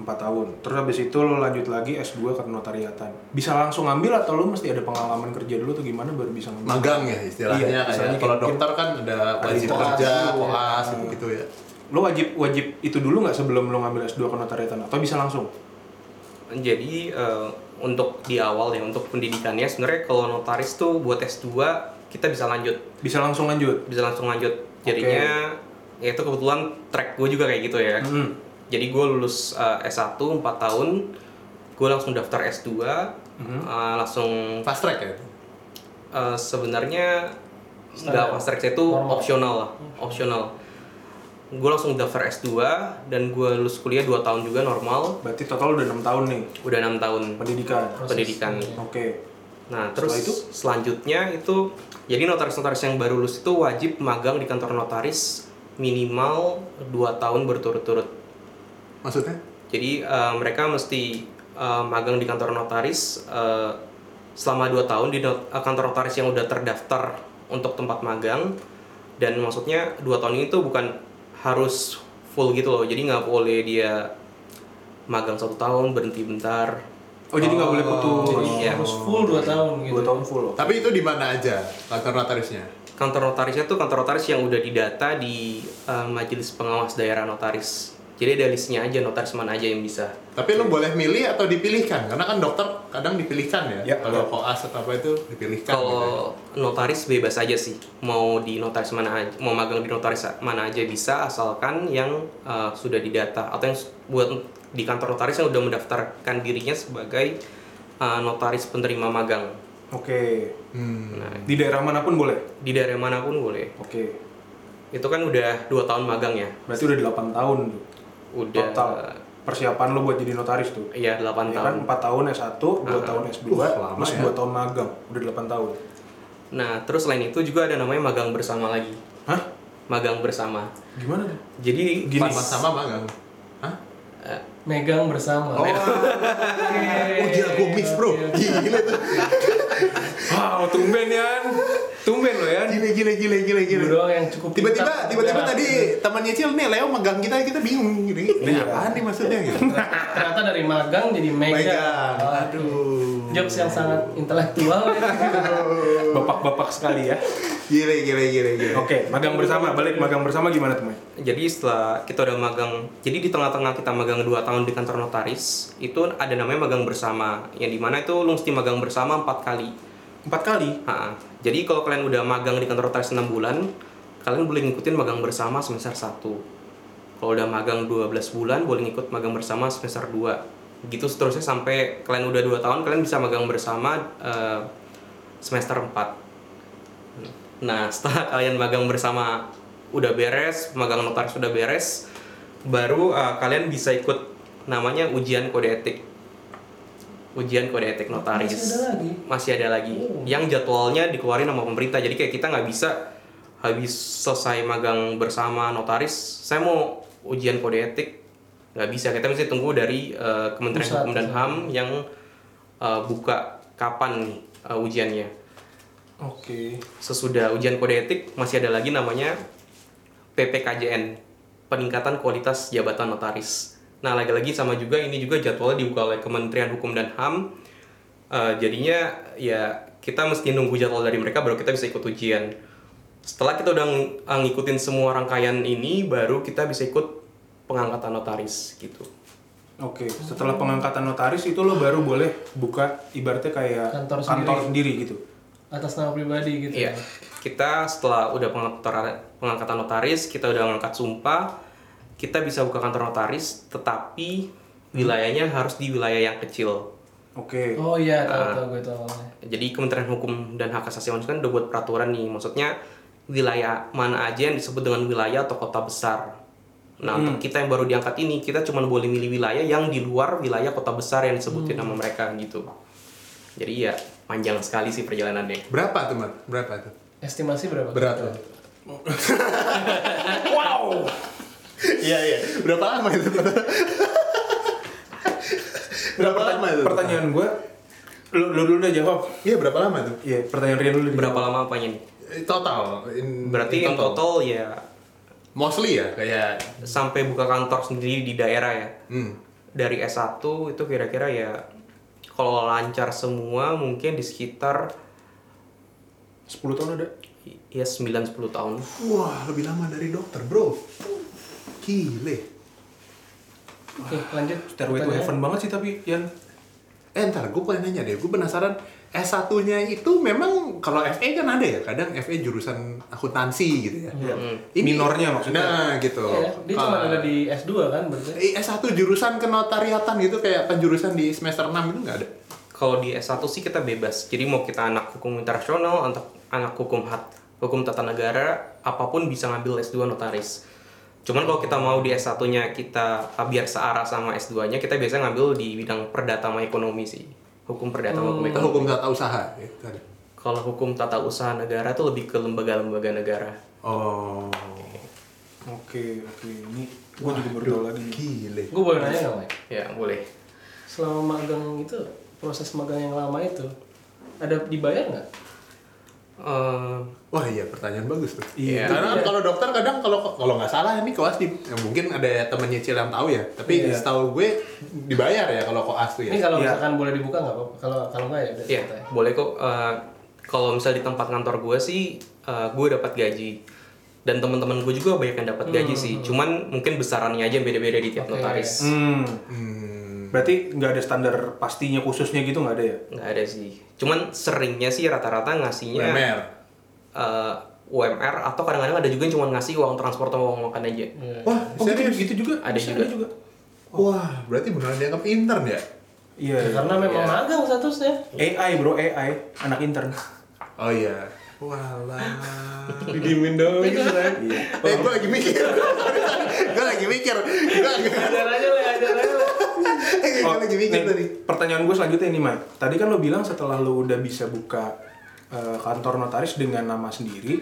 4 tahun terus habis itu lo lanjut lagi S2 ke notariatan bisa langsung ngambil atau lo mesti ada pengalaman kerja dulu atau gimana baru bisa ngambil Magang ya Iya, istilahnya. kayak kalau misalnya kayak- dokter kan ada wajib koas kerja, dulu, koas gitu gitu ya. lo wajib wajib itu dulu nggak sebelum lo ngambil S2 ke notariatan atau bisa langsung Jadi eh, untuk di awal ya untuk pendidikannya sebenarnya kalau notaris tuh buat S2 kita bisa lanjut, bisa langsung lanjut bisa langsung lanjut. Jadinya ya itu kebetulan track gue juga kayak gitu ya. Mm-hmm. Mm. Jadi gue lulus eh, S1 4 tahun, gue langsung daftar S2, Mm-hmm. eh, langsung Fast track ya. eh, sebenarnya nggak Standar. fast track saya itu Normal. opsional lah, opsional. Gue langsung daftar S2 dan gue lulus kuliah 2 tahun juga normal, berarti total udah enam tahun nih udah enam tahun pendidikan Proses. ya. pendidikan. oke Nah, terus Setelah itu? selanjutnya itu jadi notaris-notaris yang baru lulus itu wajib magang di kantor notaris minimal 2 tahun berturut-turut. Maksudnya? Jadi eh, mereka mesti eh, magang di kantor notaris eh, selama 2 tahun di not- eh, kantor notaris yang udah terdaftar untuk tempat magang dan maksudnya 2 tahun itu bukan harus full gitu loh. Jadi nggak boleh dia magang satu tahun berhenti bentar. oh jadi nggak boleh putus Jadi, ya. Iya, Harus full 2 tahun gitu dua tahun full oke Tapi itu di mana aja kantor notarisnya? kantor notarisnya tuh kantor notaris yang udah didata di eh, majelis pengawas daerah notaris jadi ada listnya aja notaris mana aja yang bisa Tapi lu boleh milih atau dipilihkan karena kan dokter kadang dipilihkan ya. Ya, Kalau ya. koas atau apa itu dipilihkan. gitu. kalau notaris bebas aja sih mau di notaris mana aja mau magang di notaris mana aja bisa asalkan yang eh, sudah didata atau yang s- buat di kantor notaris yang udah mendaftarkan dirinya sebagai eh, notaris penerima magang Hmm. nah di daerah manapun boleh di daerah manapun boleh oke itu kan udah dua tahun magang ya berarti udah delapan tahun tuh. udah total persiapan lo buat jadi notaris tuh iya delapan Ya tahun kan 4 tahun Ah. Uh, S1, 2 tahun S2, Wah, lama plus ya. 2 tahun magang, udah 8 tahun. Nah, terus selain itu juga ada namanya magang bersama lagi. Hah? Magang bersama. Gimana tuh? Jadi Gini. pas- Sama-sama magang. Hah? Megang bersama Iya, Oh, oh gila gue miss bro. Gila tuh. Wow, tumben Yan. Tumben lo Yan. Gila gila gila gila Gue gila. doang yang cukup Tiba-tiba pintar. tiba-tiba Nah, tadi temannya Cil nih Leo megang kita kita bingung gitu. Ini Iya. apaan nih maksudnya gitu. Ternyata dari magang jadi megang Megang. Aduh. Jokes yang sangat intelektual ya Bapak-bapak sekali ya. Gila gila gila gila. Oke, magang bersama, balik magang bersama gimana teman? jadi setelah kita udah magang, jadi di tengah-tengah kita magang 2 tahun di kantor notaris, itu ada namanya magang bersama. Yang dimana itu lu mesti magang bersama 4 kali. 4 kali. Ha-ha. Jadi kalau kalian udah magang di kantor notaris 6 bulan, kalian boleh ngikutin magang bersama semester 1. Kalau udah magang 12 bulan, boleh ngikut magang bersama semester 2. Gitu seterusnya sampai kalian udah 2 tahun, kalian bisa magang bersama eh, semester 4. Nah, [laughs] setelah kalian magang bersama udah beres, magang notaris udah beres, baru eh, kalian bisa ikut namanya ujian kode etik. Ujian kode etik notaris Masih ada lagi? masih ada lagi yang jadwalnya dikeluarin sama pemerintah jadi kayak kita nggak bisa habis selesai magang bersama notaris saya mau ujian kode etik nggak bisa kita mesti tunggu dari eh, Kementerian Pusat, Hukum dan pusat. HAM yang eh, buka kapan nih eh, ujiannya Oke. sesudah ujian kode etik masih ada lagi namanya PPKJN peningkatan kualitas jabatan notaris. Nah lagi-lagi sama juga ini juga jadwalnya dibuka oleh Kementerian Hukum dan Ham. Eh, jadinya ya kita mesti nunggu jadwal dari mereka baru kita bisa ikut ujian. Setelah kita udah ng- eh, ngikutin semua rangkaian ini baru kita bisa ikut pengangkatan notaris gitu. Oke, setelah pengangkatan notaris itu lo baru boleh buka ibaratnya kayak Kantor sendiri. gitu. Atas nama pribadi gitu Iya. Kita setelah udah pengangkatan, pengangkatan notaris, kita udah ngangkat sumpah, kita bisa buka kantor notaris, tetapi wilayahnya harus di wilayah yang kecil. Oke. Oh iya, tahu Ah. tahu gue tahu. Jadi Kementerian Hukum dan Hak Asasi Manusia kan udah buat peraturan nih, maksudnya wilayah mana aja yang disebut dengan wilayah atau kota besar. Nah, untuk kita yang baru diangkat ini, kita cuma boleh milih wilayah yang di luar wilayah kota besar yang disebutin nama mereka gitu. Jadi ya panjang sekali sih perjalanannya. Berapa tuh, Mat? Berapa tuh? Estimasi berapa? Berat [laughs] loh. Wow. Iya, iya. Berapa lama itu? berapa lama itu? Pertanyaan gue, lu, lu dulu deh jawab. Iya, berapa lama tuh? Iya, pertanyaan Rian dulu. deh. Berapa lama apanya nih? Eh, Total. in- Berarti in yang total ya Mostly ya, kayak sampai buka kantor sendiri di daerah ya. hmm. Dari S1 itu kira-kira ya kalau lancar semua mungkin di sekitar 10 tahun ada. ya 9-10 tahun. Wah, lebih lama dari dokter, bro. Gile. Oke, lanjut. Stairway to Pertanyaan. heaven banget sih tapi Yan. Eh ntar, gue pengen nanya deh, gue penasaran S1-nya itu memang kalau FE kan ada ya, kadang FE jurusan akuntansi gitu ya. Hmm. Minornya maksudnya. Nah, gitu. Iya, dia cuma Ah. ada di S2 kan berarti. Eh, S1 jurusan kenotariatan gitu kayak penjurusan di semester 6 itu nggak ada. Kalau di S1 sih kita bebas. Jadi mau kita anak hukum internasional, anak anak hukum hat, hukum tata negara, apapun bisa ngambil S2 notaris. Cuman kalau kita mau di S1-nya kita ah, biar searah sama S2-nya, kita biasanya ngambil di bidang perdata sama ekonomi sih. Hukum perdata sama hukum Kita Hmm. ekonomi. hukum tata usaha gitu kan. Kalau hukum tata usaha negara tuh lebih ke lembaga-lembaga negara. Oh. Oke, oke. Ini gue juga baru tahu lagi. nih. Gile. Gue boleh nanya nggak, Mike? Ya, boleh. Selama magang itu, proses magang yang lama itu, ada dibayar nggak? Eh, Wah iya pertanyaan bagus tuh. Iya. Karena kan kalau dokter kadang kalau kalau nggak salah ini koas di ya, mungkin ada temennya Cil yang tahu ya. Tapi Iya. setahu gue dibayar ya kalau koas tuh ya. Ini kalau Iya. misalkan boleh dibuka nggak apa-apa? Kalau kalau nggak ya udah Iya, santai. boleh kok. Eh, kalau misal di tempat kantor gue sih, eh, gue dapat gaji. Dan teman-teman gue juga banyak yang dapat gaji sih. Cuman mungkin besarannya aja yang beda-beda di tiap Oke. notaris. Hmm. Hmm. Berarti nggak ada standar pastinya khususnya gitu nggak ada ya? Hmm. Nggak ada sih. Cuman seringnya sih rata-rata ngasihnya UMR. eh, UMR atau kadang-kadang ada juga yang cuma ngasih uang transport atau uang makan aja. Iya. Wah, Oh, gitu, serius? gitu juga? Ada Bisa, juga. Wah, berarti beneran dianggap intern ya? Iya. Ya, iya. Karena memang Iya. magang statusnya. AI bro, AI. Anak intern. Oh iya. Walah. Didiemin dong gitu kan. Eh, gue lagi mikir. [laughs] gue lagi mikir. Gue lagi, [laughs] Eh, Ajar aja lah, ajar aja lah. gua lagi mikir Oh, nih, tadi. Pertanyaan gue selanjutnya ini, Mat. Tadi kan lo bilang setelah lo udah bisa buka eh, kantor notaris dengan nama sendiri,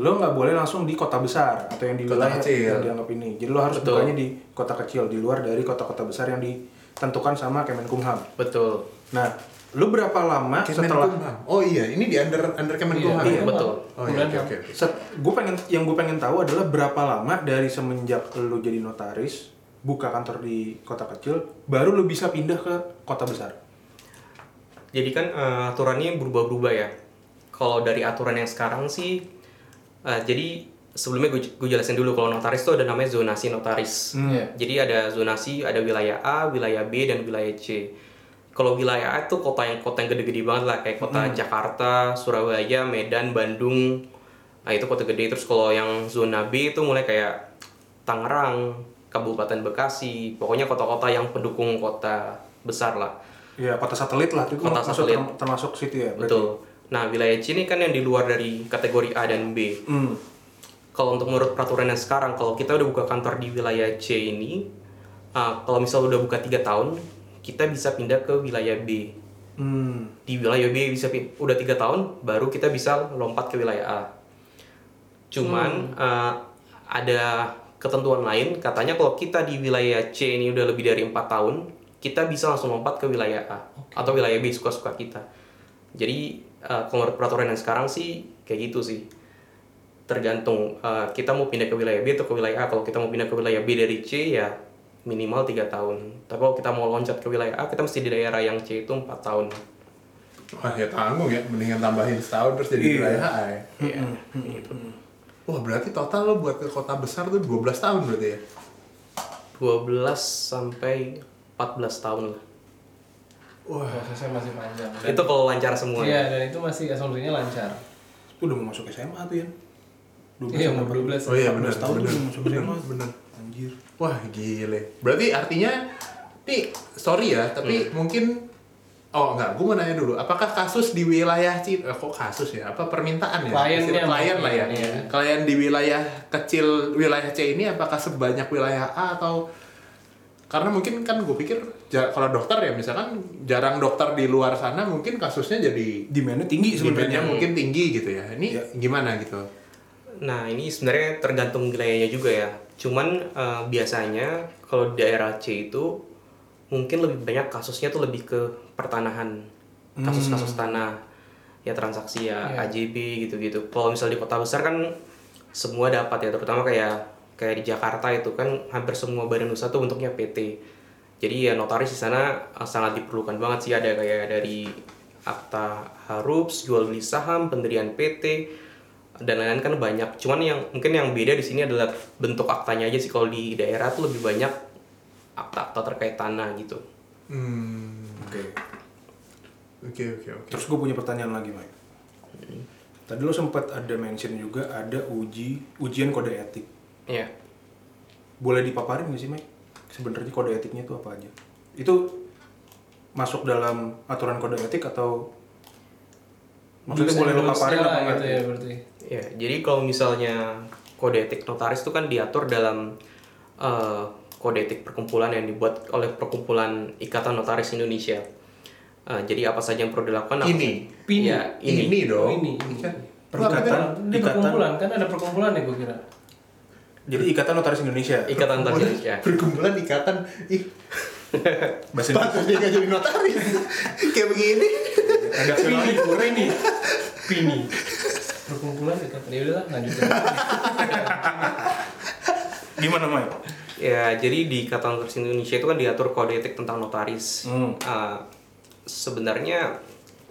lo nggak boleh langsung di kota besar atau yang di Kota wilayah kecil. yang dianggap ini. Jadi lo harus bukanya di kota kecil, di luar dari kota-kota besar yang ditentukan sama Kemenkumham. Betul. Nah, lo berapa lama setelah Kemenkumham. Oh iya, ini di under under Kemenkumham. ya? Iya, betul. Oh iya, oke oke. oke. gue pengen yang gue pengen tahu adalah berapa lama dari semenjak lu jadi notaris buka kantor di kota kecil baru lu bisa pindah ke kota besar Jadi kan eh, aturannya berubah-berubah ya. Kalau dari aturan yang sekarang sih, eh, jadi sebelumnya gue jelasin dulu kalau notaris itu ada namanya zonasi notaris. Hmm. Iya. Jadi ada zonasi, ada wilayah A, wilayah B, dan wilayah C. Kalau wilayah A itu kota yang kota yang gede-gede banget lah, kayak kota Jakarta, Surabaya, Medan, Bandung. Nah itu kota gede. Terus kalau yang zona B itu mulai kayak Tangerang, Kabupaten Bekasi, pokoknya kota-kota yang pendukung kota besar lah. ya kota satelit lah itu Kota masuk satelit. term- termasuk situ ya berarti? Betul. Nah wilayah C ini kan yang di luar dari kategori A dan B. Hmm. kalau untuk menurut peraturan yang sekarang, kalau kita udah buka kantor di wilayah C ini, ah, kalau misal udah buka tiga tahun, kita bisa pindah ke wilayah B. Hmm. Di wilayah B bisa pin- udah tiga tahun, baru kita bisa lompat ke wilayah A. Cuman ah, ada ketentuan lain, katanya kalau kita di wilayah C ini udah lebih dari empat tahun, kita bisa langsung lompat ke wilayah A atau wilayah B suka-suka kita. Jadi ah, kalau menurut peraturan yang sekarang sih kayak gitu sih tergantung uh, kita mau pindah ke wilayah B atau ke wilayah A kalau kita mau pindah ke wilayah B dari C ya minimal tiga tahun tapi kalau kita mau loncat ke wilayah A kita mesti di daerah yang C itu empat tahun Wah, ya tanggung ya. Mendingan tambahin setahun terus jadi Iya. gitu. wilayah A ya. Iya. Wah, berarti total lo buat ke kota besar tuh 12 tahun berarti ya? 12 sampai 14 tahun lah Wah, Prosesnya masih panjang. itu kalau lancar semua ya? Iya, dan itu masih asumsinya lancar. Itu udah mau masuk SMA tuh ya 12 Iya, umur 12. Oh iya benar 14 tahun benar tuh udah masuk benar SMA benar. anjir Wah gile. Berarti artinya Nih, sorry ya, tapi mungkin Oh enggak, gue mau nanya dulu, apakah kasus di wilayah Cina, eh, kok kasus ya, apa permintaan ya? Istilah Kliennya, klien lah ya. iya. Klien di wilayah kecil, wilayah C ini apakah sebanyak wilayah A atau karena mungkin kan gue pikir ja- kalau dokter ya misalkan jarang dokter di luar sana mungkin kasusnya jadi Demand-nya tinggi sebenarnya sebenarnya. mungkin tinggi gitu ya. Ini Iya. gimana gitu? Nah, ini sebenarnya tergantung wilayahnya juga ya. Cuman eh, biasanya kalau di daerah C itu mungkin lebih banyak kasusnya tuh lebih ke pertanahan. Kasus-kasus tanah. Ya transaksi ya Iya. AJB gitu-gitu. Kalau misalnya di kota besar kan semua dapat ya, terutama kayak kayak di Jakarta itu kan hampir semua badan usaha tuh bentuknya PT. Jadi ya notaris di sana eh, sangat diperlukan banget sih ada kayak dari akta harups, jual beli saham, pendirian PT, dan lain-lain kan banyak. Cuman yang mungkin yang beda di sini adalah bentuk aktanya aja sih. Kalau di daerah tuh lebih banyak akta-akta terkait tanah gitu. Hmm. Oke. Oke oke oke. Terus gue punya pertanyaan lagi, Mike. Tadi lo sempat ada mention juga ada uji ujian kode etik. Iya. Boleh dipaparin nggak sih, Mike? Sebenarnya kode etiknya itu apa aja? Itu masuk dalam aturan kode etik atau maksudnya boleh lo Rules-nya paparin lah apa enggak? gitu ya berarti. Ya, jadi kalau misalnya kode etik notaris itu kan diatur dalam eh, kode etik perkumpulan yang dibuat oleh perkumpulan Ikatan Notaris Indonesia. Eh, jadi apa saja yang perlu dilakukan? apa Ini. saja- Ini. Iya, ini. ini dong. Oh, ini, ini. Kan? Perikatan, Ini Iya. ikatan. perkumpulan kan ada perkumpulan ya gue kira. Jadi Ikatan Notaris Indonesia. Ikatan Notaris Indonesia. ya. Perkumpulan ikatan ih Bahasa pantas dia nggak jadi notaris [laughs] kayak begini Ada Finali Kure nih. Pini. Perkumpulan ya kan. Ya udah lah, lanjut. aja. Gimana, Mike? Ya, jadi di Ikatan Notaris Indonesia itu kan diatur kode etik tentang notaris. Hmm. Uh, sebenarnya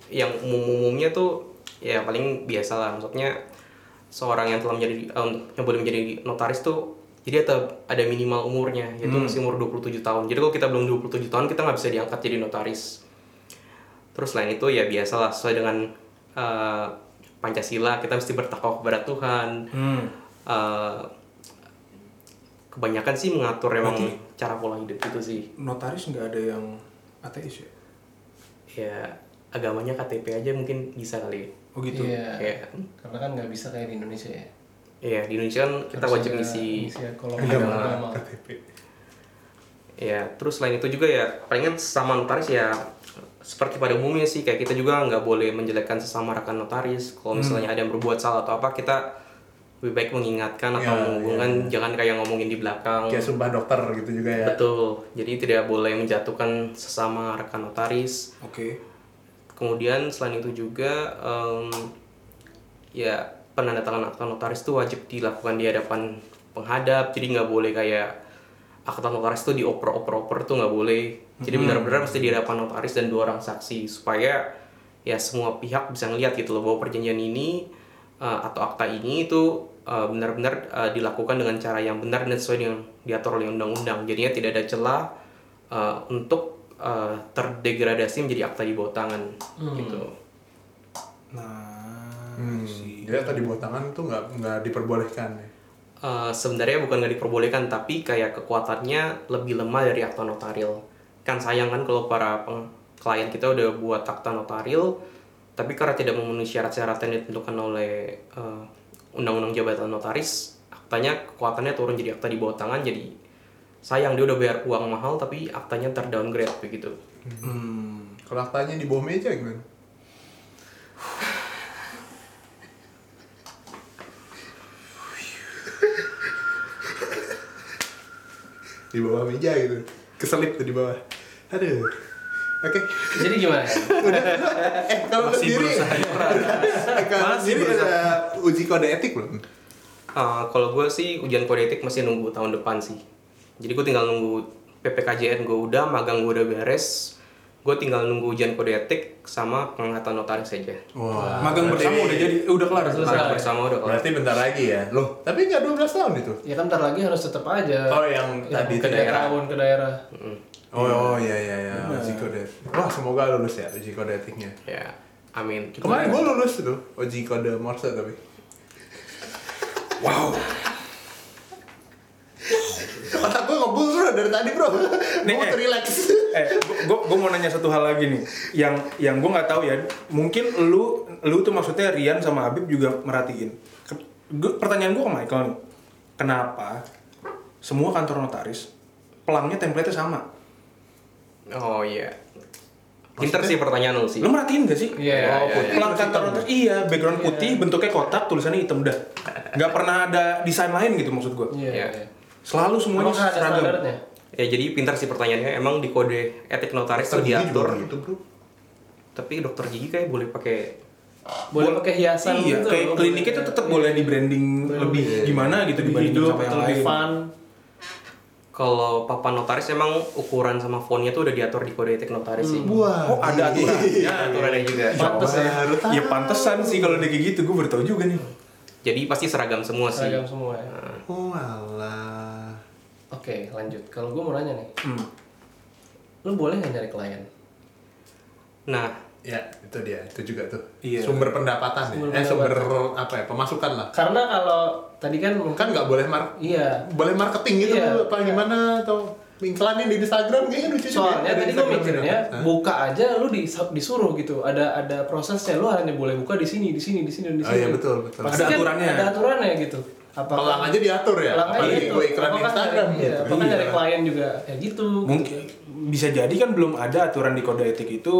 yang umum-umumnya tuh ya paling biasa lah. Maksudnya seorang yang telah menjadi um, yang boleh menjadi notaris tuh jadi ada, ada minimal umurnya yaitu masih umur 27 tahun. Jadi kalau kita belum 27 tahun kita nggak bisa diangkat jadi notaris. Terus selain itu ya biasalah sesuai dengan uh, Pancasila kita mesti bertakwa kepada Tuhan. Hmm. Uh, kebanyakan sih mengatur emang cara pola hidup gitu sih Notaris nggak ada yang ateis ya? ya agamanya KTP aja mungkin bisa kali ya Oh gitu. Iya. Iya. Karena kan nggak bisa kayak di Indonesia ya. Iya, di Indonesia kan kita Harus wajib ada ngisi ngisi ya, kolom Iya, agama. agama. ya terus selain itu juga ya palingan sesama notaris ya seperti pada umumnya sih kayak kita juga nggak boleh menjelekkan sesama rekan notaris kalau Hmm. misalnya ada yang berbuat salah atau apa kita lebih baik mengingatkan atau Ya, menghubungkan jangan kayak ngomongin di belakang kayak sumpah dokter gitu juga ya betul jadi tidak boleh menjatuhkan sesama rekan notaris Oke. Kemudian selain itu juga em, ya penandatanganan akta notaris itu wajib dilakukan di hadapan penghadap. Jadi nggak boleh kayak akta notaris itu dioper-oper-oper tuh nggak boleh. Jadi benar-benar mesti di hadapan notaris dan dua orang saksi supaya ya semua pihak bisa ngelihat gitu loh bahwa perjanjian ini eh, atau akta ini itu eh, benar-benar eh, dilakukan dengan cara yang benar dan sesuai dengan diatur oleh undang-undang. Jadinya tidak ada celah eh, untuk eh, terdegradasi menjadi akta di bawah tangan gitu. Nah, hmm. sih. jadi tadi buat tangan tuh nggak nggak diperbolehkan ya Eh, sebenarnya bukan nggak diperbolehkan tapi kayak kekuatannya lebih lemah dari akta notaril. Kan sayang kan kalau para peng- klien kita udah buat akta notaril tapi karena tidak memenuhi syarat-syarat yang ditentukan oleh eh, undang-undang jabatan notaris, aktanya kekuatannya turun jadi akta di bawah tangan jadi sayang dia udah bayar uang mahal tapi aktanya terdowngrade begitu. Hmm. kalau aktanya di bawah meja gimana [sighs] di bawah meja gitu keselip tuh di bawah aduh oke Jadi gimana? ya? eh kalau Masih sendiri berusaha [laughs] eh, kalau Masih sendiri berusaha. ada uji kode etik belum Eh, kalau gue sih ujian kode etik masih nunggu tahun depan sih. Jadi gue tinggal nunggu PPKJN gue udah, magang gue udah beres. Gue tinggal nunggu ujian kode etik sama pengangkatan notaris aja. Wah, Magang berarti- bersama udah jadi eh, udah kelar. Selesai. Magang bersama udah kelar. Berarti bentar lagi ya. Loh, tapi nggak 12 tahun itu. Ya kan ntar lagi harus tetap aja. Oh, yang tadi ke tuh ya. daerah, ke daerah. Hmm, Oh, oh iya iya iya, uji kode. Wah, semoga lulus ya uji kode etiknya. Ya, amin. Kemarin gue lulus tuh, uji kode Morse tapi. Wow. Otak gue ngebul tuh dari tadi bro gue Nih, mau eh. relax eh gue mau nanya satu hal lagi nih yang yang gue nggak tahu ya mungkin lu lu tuh maksudnya Rian sama Habib juga merhatiin Ke- gua- pertanyaan gue ke Michael nih kenapa semua kantor notaris pelangnya template sama Oh iya. Pinter sih pertanyaan lu sih. lu merhatiin gak sih Iya, iya, Oh, iya, putih. pelang kantor notaris iya background Iya. putih bentuknya kotak tulisannya hitam dah nggak pernah ada desain lain gitu maksud gue Iya. Iya. iya. selalu semuanya Emang ada seragam standarnya? Ya jadi pinter sih pertanyaannya. Emang di kode etik notaris tuh diatur. itu gitu, bro Tapi dokter gigi kayak boleh pakai Boleh pakai hiasan iya, gitu. kayak loh, kliniknya boleh. tuh tetap boleh di branding Boleh lebih lebih. gimana gitu Lebih dibanding hidup sama yang atau lain lebih fun. kalau papan notaris emang ukuran sama fontnya tuh udah diatur di kode etik notaris sih. wah iya. oh ada aturannya Ada aturannya juga. Pantes ya. baru tahu. ya pantesan sih kalau dia kayak gitu gue baru tahu juga nih Jadi pasti seragam semua sih. Seragam semua ya. oh alah Oke, lanjut. Kalau gue mau nanya nih, hmm. lu boleh nggak nyari klien? Nah, ya itu dia itu juga tuh Iya. sumber pendapatan Sumber ya eh sumber apa ya pemasukan lah Karena kalau tadi kan mungkin kan nggak boleh mar iya. boleh marketing gitu Iya. apa gimana atau iklanin di Instagram kayaknya lucu juga ya, di Soalnya tadi gue Instagram mikirnya gitu. Hah? buka aja lu dis- disuruh gitu. Ada ada prosesnya lu hanya boleh buka di sini, di sini, di sini, dan di Oh, sini. iya, betul, betul. Pasti Ada kan aturannya. Ada aturannya gitu. Apa pelang aja diatur ya Pelang aja apalagi gitu. gue iklan di Apakah Instagram dari- gitu Iya, apakah dari klien juga kayak gitu. mungkin bisa jadi kan belum ada aturan di kode etik itu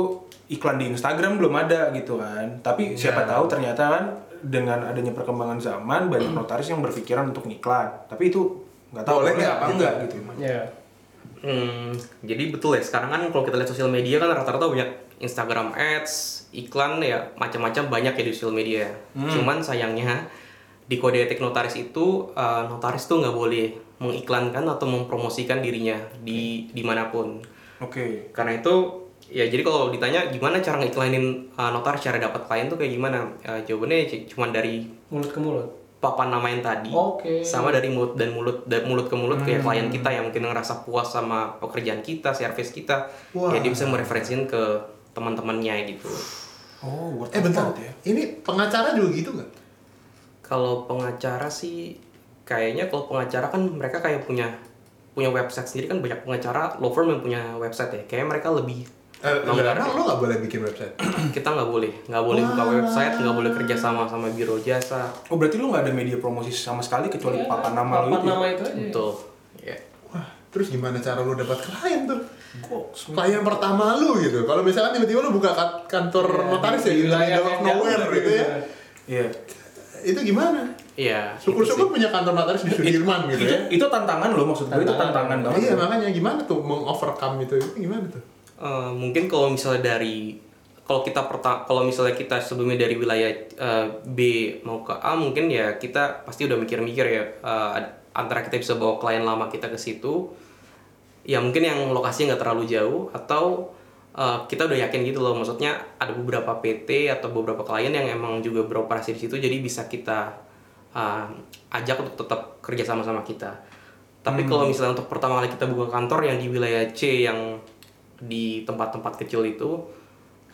iklan di Instagram belum ada gitu kan tapi siapa Iya. tahu ternyata kan dengan adanya perkembangan zaman [clears throat] banyak notaris yang berpikiran untuk ngiklan tapi itu nggak tahu Boleh boleh, nggak apa gitu. enggak gitu Ya. hmm, jadi betul ya. Sekarang kan kalau kita lihat sosial media kan rata-rata banyak Instagram ads, iklan ya macam-macam banyak ya di sosial media. Cuman sayangnya di kode etik notaris itu eh, notaris tuh nggak boleh mengiklankan atau mempromosikan dirinya di dimanapun. oke Karena itu ya jadi kalau ditanya gimana cara ngiklanin eh, notaris cara dapat klien tuh kayak gimana? Eh, jawabannya c- cuman dari Mulut ke mulut. papan nama yang tadi Oke. sama dari mulut dan mulut dan mulut ke mulut kayak Hmm. klien kita yang mungkin ngerasa puas sama pekerjaan kita, service kita, Wah. ya dia bisa mereferensiin ke teman-temannya gitu. oh worth eh bentar ya ini pengacara juga gitu nggak Kalau pengacara sih kayaknya kalau pengacara kan mereka kayak punya punya website sendiri kan banyak pengacara law firm yang punya website ya. Kayaknya mereka lebih [clears throat] Eh, longgar emang lo nggak boleh bikin website kita nggak boleh nggak boleh buka Wah. Hmm. website nggak boleh kerja sama sama biro jasa oh berarti lu nggak ada media promosi sama sekali kecuali Iya, papan nama papan lu itu ya? nama itu aja. betul ya Wah, terus gimana cara lo dapat klien tuh? Klien pertama lu gitu. Kalau misalkan tiba-tiba lu buka kat- kantor Iya, notaris ya di gitu, di wilayah middle of yang nowhere jauh gitu ya. gitu. Iya. Itu gimana? iya Syukur-syukur punya kantor notaris di Sudirman gitu itu, [laughs] ya. itu tantangan lo maksud gue itu Tantangan. tantangan banget Iya, makanya gimana tuh mengovercome itu? Itu Gimana tuh? Eh, mungkin kalau misalnya dari kalau kita perta kalau misalnya kita sebelumnya dari wilayah eh, B mau ke A mungkin ya kita pasti udah mikir-mikir ya eh, antara kita bisa bawa klien lama kita ke situ ya mungkin yang lokasinya nggak terlalu jauh atau eh, kita udah yakin gitu loh maksudnya ada beberapa PT atau beberapa klien yang emang juga beroperasi di situ jadi bisa kita eh, ajak untuk tetap kerja sama sama kita tapi kalau misalnya untuk pertama kali kita buka kantor yang di wilayah C yang di tempat-tempat kecil itu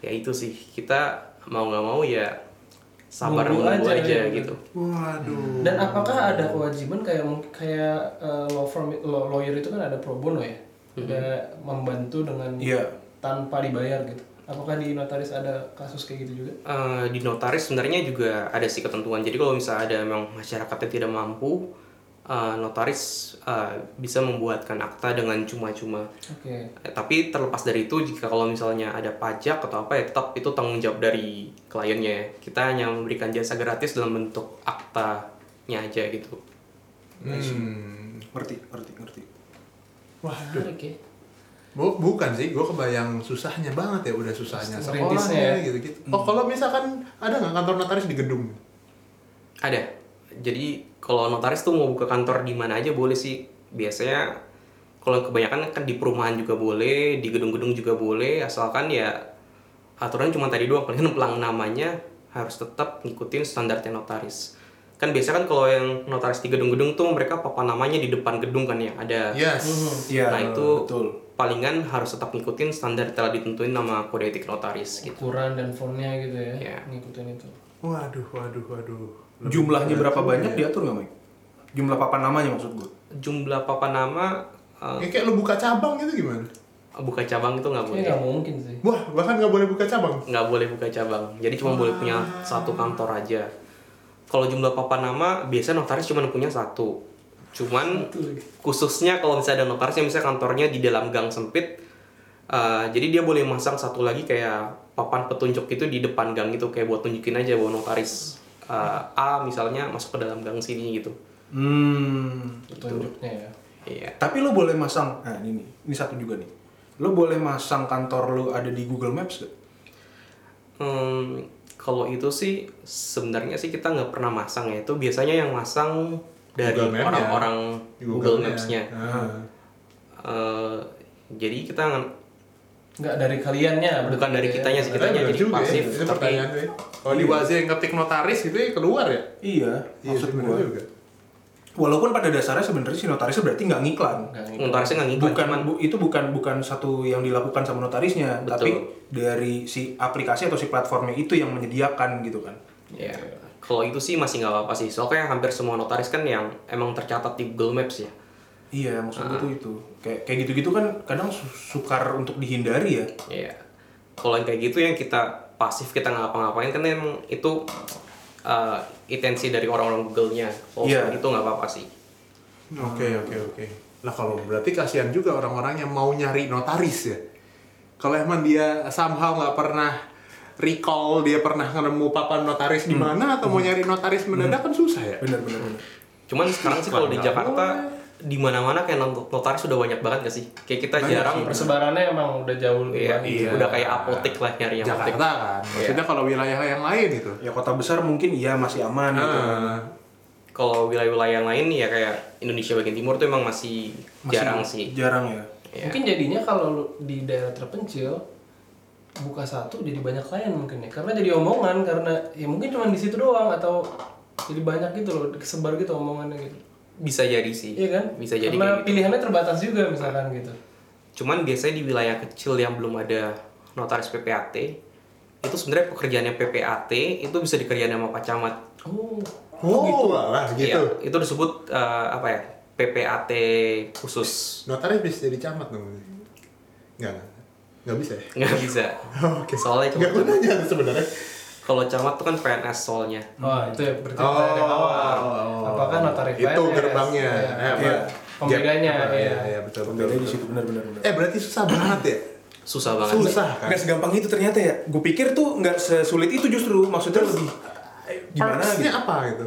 ya itu sih kita mau nggak mau ya sabar Nunggu nunggu aja, aja, ya. gitu Waduh. Dan apakah ada kewajiban kayak mung- kayak eh, law firm law- lawyer itu kan ada pro bono ya? Ada membantu dengan Iya. tanpa dibayar gitu. Apakah di notaris ada kasus kayak gitu juga? Eh, di notaris sebenarnya juga ada sih ketentuan. Jadi kalau misalnya ada memang masyarakat yang tidak mampu, eh, notaris eh, bisa membuatkan akta dengan cuma-cuma. Oke. Eh, tapi terlepas dari itu, jika kalau misalnya ada pajak atau apa ya tetap itu tanggung jawab dari kliennya. ya. Kita hanya memberikan jasa gratis dalam bentuk aktanya aja gitu. Hmm. ngerti ngerti ngerti Waduh. Menarik ya. Bu- bukan sih, gue kebayang susahnya banget ya udah susahnya Merintisnya sekolahnya ya. gitu-gitu. Oh, kalau misalkan ada nggak kantor notaris di gedung? Ada. Jadi kalau notaris tuh mau buka kantor di mana aja boleh sih. Biasanya kalau kebanyakan kan di perumahan juga boleh, di gedung-gedung juga boleh, asalkan ya aturan cuma tadi doang. Palingan pelang namanya harus tetap ngikutin standarnya notaris. Kan biasa kan kalau yang notaris di gedung-gedung tuh mereka papan namanya di depan gedung kan ya ada. Yes. iya Nah, itu- betul Palingan harus tetap ngikutin standar yang telah ditentuin nama kode etik notaris gitu. Ukuran dan fontnya gitu ya. Iya. Ngikutin itu. Waduh, waduh, waduh. Lebih jumlahnya berapa berat juga banyak ya. diatur nggak Mike jumlah papan namanya maksud gue Jumlah papan nama Ya, eh, eh, kayak lu buka cabang gitu gimana? buka cabang itu nggak Ini boleh Iya, nggak mungkin sih. Wah, bahkan nggak boleh buka cabang. nggak boleh buka cabang jadi cuma boleh punya satu kantor aja kalau jumlah papan nama biasanya notaris cuma punya satu cuman Itu lagi. khususnya kalau misalnya ada notaris yang misalnya kantornya di dalam gang sempit eh, jadi dia boleh masang satu lagi kayak papan petunjuk itu di depan gang gitu kayak buat tunjukin aja bahwa notaris eh, A misalnya masuk ke dalam gang sini gitu Hmm. Petunjuknya ya. iya Tapi lo boleh masang, nah ini nih, ini satu juga nih. Lo boleh masang kantor lo ada di Google Maps gak? Hmm, kalau itu sih sebenarnya sih kita nggak pernah masang ya itu biasanya yang masang dari Google Map-nya. orang-orang Di Google, Google-nya. Maps-nya Ah. Eh, jadi kita ngan- Nggak dari kaliannya. berarti bukan dari ya. kitanya sih Ternyata kitanya bener jadi juga ya, pasif Itu tapi pertanyaan Iya. gue. Kalau di Waze yang ngetik notaris itu ya keluar ya? Iya, maksud bener gua. juga. Walaupun pada dasarnya sebenarnya si notarisnya berarti nggak ngiklan. Nggak ngikut. notarisnya nggak ngiklan Bukan cuman bu- itu bukan bukan satu yang dilakukan sama notarisnya, Betul. tapi dari si aplikasi atau si platformnya itu yang menyediakan gitu kan. ya kalau itu sih masih nggak apa-apa sih soalnya hampir semua notaris kan yang emang tercatat di Google Maps ya Iya, maksud Ah. gua tuh itu. Kayak kayak gitu-gitu kan kadang su- sukar untuk dihindari ya. Iya. Kalau yang kayak gitu yang kita pasif kita nggak ngapa-ngapain kan emang itu eh, intensi dari orang-orang Google-nya. Kalau Iya. itu nggak apa-apa sih. Oke oke oke. Lah kalau berarti kasihan juga orang-orang yang mau nyari notaris ya. Kalau emang dia somehow nggak pernah recall dia pernah nemu papan notaris di mana atau mau nyari notaris mendadak kan susah ya. Benar benar benar. Cuman sekarang sih kalau di Nggak Jakarta di mana-mana kayak not- notaris sudah banyak banget gak sih? Kayak kita Banyak jarang sih, Persebarannya emang udah jauh lebih Iya, banyak. Iya. udah kayak apotek lah nyari yang Jakarta apotek. kan. Maksudnya kalau wilayah yang lain gitu. Ya kota besar mungkin iya masih aman gitu. Ah, Kalau wilayah-wilayah yang lain ya kayak Indonesia bagian timur tuh emang masih, Masih jarang sih. Jarang ya. Iya. Mungkin jadinya kalau lu di daerah terpencil buka satu jadi banyak klien mungkin ya karena jadi omongan karena ya mungkin cuma di situ doang atau jadi banyak gitu loh kesebar gitu omongannya gitu Bisa jadi sih. iya kan Bisa jadi kayak karena gitu. pilihannya terbatas juga misalkan gitu Cuman biasanya di wilayah kecil yang belum ada notaris PPAT, itu sebenarnya pekerjaannya PPAT itu bisa dikerjain sama Pak Camat. oh Oh, gitu lah Iya, gitu. itu disebut eh, apa ya? PPAT khusus. Notaris bisa jadi camat dong. Enggak enggak. Nggak bisa ya. Nggak bisa. Oke. Soalnya Nggak kalau camat, gunanya sebenarnya. kalau camat tuh kan PNS soalnya. Wah, itu ya Oh, bercerita dari awal. Apakah notaris itu PNS? gerbangnya Iya. Eh, apa? Iya. Pembedanya, Apa, iya. iya iya betul betul, Pembedanya di betul. situ benar benar benar. eh berarti susah banget ya Susah banget. susah kan Nggak segampang itu ternyata ya. Gue pikir tuh nggak sesulit itu justru. Maksudnya lebih gimana Perks-nya gitu. apa gitu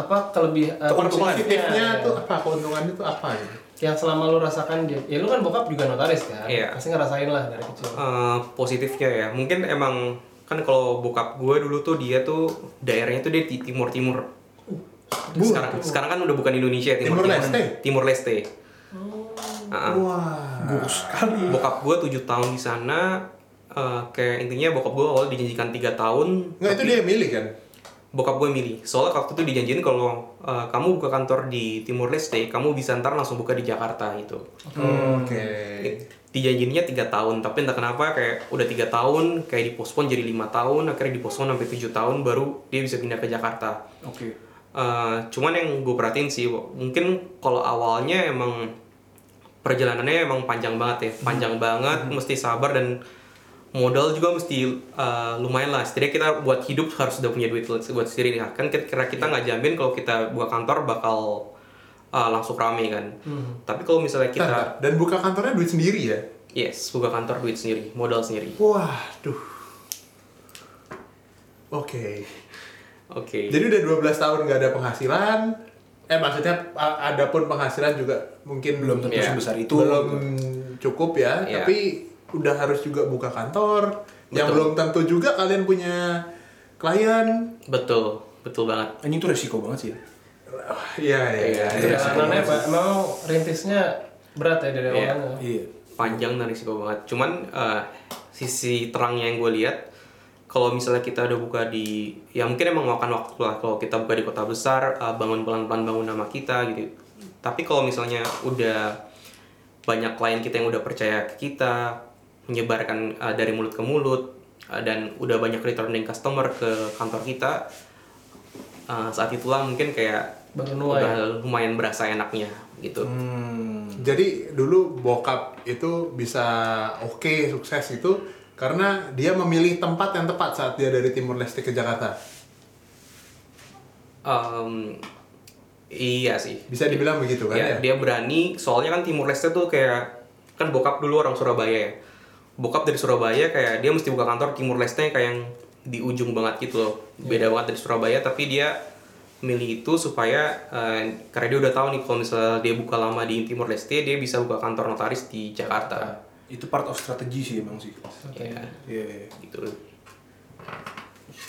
Apa kelebihan eh, Keuntungan. positifnya iya. tuh apa keuntungannya tuh apa gitu yang selama lu rasakan dia. Ya lu kan bokap juga notaris kan. Iya. Pasti ngerasain lah dari kecil. Eh, positifnya ya, mungkin emang kan kalau bokap gue dulu tuh dia tuh daerahnya tuh dia di timur timur. sekarang sekarang kan udah bukan Indonesia ya, Timur timur timur Leste? Timur Leste. Ah, ah. wah bokap gue tujuh tahun di sana eh, kayak intinya bokap gue awal dijanjikan tiga tahun nggak itu dia yang milih kan bokap gue milih soalnya waktu itu dijanjiin kalau eh, kamu buka kantor di Timur Leste kamu bisa ntar langsung buka di Jakarta gitu Hmm, oke dijanjinya tiga tahun tapi entah kenapa kayak udah tiga tahun kayak dipospon jadi lima tahun akhirnya dipospon sampai tujuh tahun baru dia bisa pindah ke Jakarta Oke. Eh, cuman yang gue perhatiin sih mungkin kalau awalnya emang perjalanannya emang panjang banget ya Hmm. panjang banget mesti sabar dan modal juga mesti eh, lumayan lah setidaknya kita buat hidup harus udah punya duit buat sendiri ya. kan kira Iya. kita nggak jamin kalau kita buka kantor bakal eh, langsung rame kan tapi kalau misalnya Hmm. Bentar, kita bentar. dan buka kantornya duit sendiri ya yes buka kantor duit sendiri modal sendiri wah duh oke oke jadi udah 12 tahun nggak ada penghasilan eh maksudnya a- ada pun penghasilan juga mungkin ya, Belum tentu Iya. sebesar itu. belum cukup ya, Iya. tapi udah harus juga buka kantor. Yang Betul. belum tentu juga kalian punya klien. betul betul banget Anjing itu resiko banget sih. Ya. Wah, Iya, iya, iya. Iya, iya. Perjalanannya Pak, emang rintisnya berat ya dari Iya. awalnya. Iya. panjang dan risiko banget. Cuman eh, sisi terangnya yang gue lihat, kalau misalnya kita udah buka di, ya mungkin emang makan waktu lah. Kalau kita buka di kota besar, eh, bangun pelan-pelan bangun nama kita gitu. Tapi kalau misalnya udah banyak klien kita yang udah percaya ke kita, menyebarkan eh, dari mulut ke mulut, eh, dan udah banyak returning customer ke kantor kita, eh, saat itulah mungkin kayak baru nuai udah lumayan berasa enaknya gitu. Hmm. Jadi dulu bokap itu bisa oke sukses itu karena dia memilih tempat yang tepat saat dia dari Timur Leste ke Jakarta. Em, iya sih. Bisa dibilang begitu kan ya? Ya, dia berani, soalnya kan Timur Leste tuh kayak kan bokap dulu orang Surabaya ya. Bokap dari Surabaya kayak dia mesti buka kantor Timur Leste kayak yang di ujung banget gitu loh. Beda banget dari Surabaya tapi dia milih itu supaya eh, karena dia udah tahu nih kalau misalnya dia buka lama di Timur Leste dia bisa buka kantor notaris di Jakarta. Itu part of strategi sih emang sih. Ya, Iya, iya. gitu.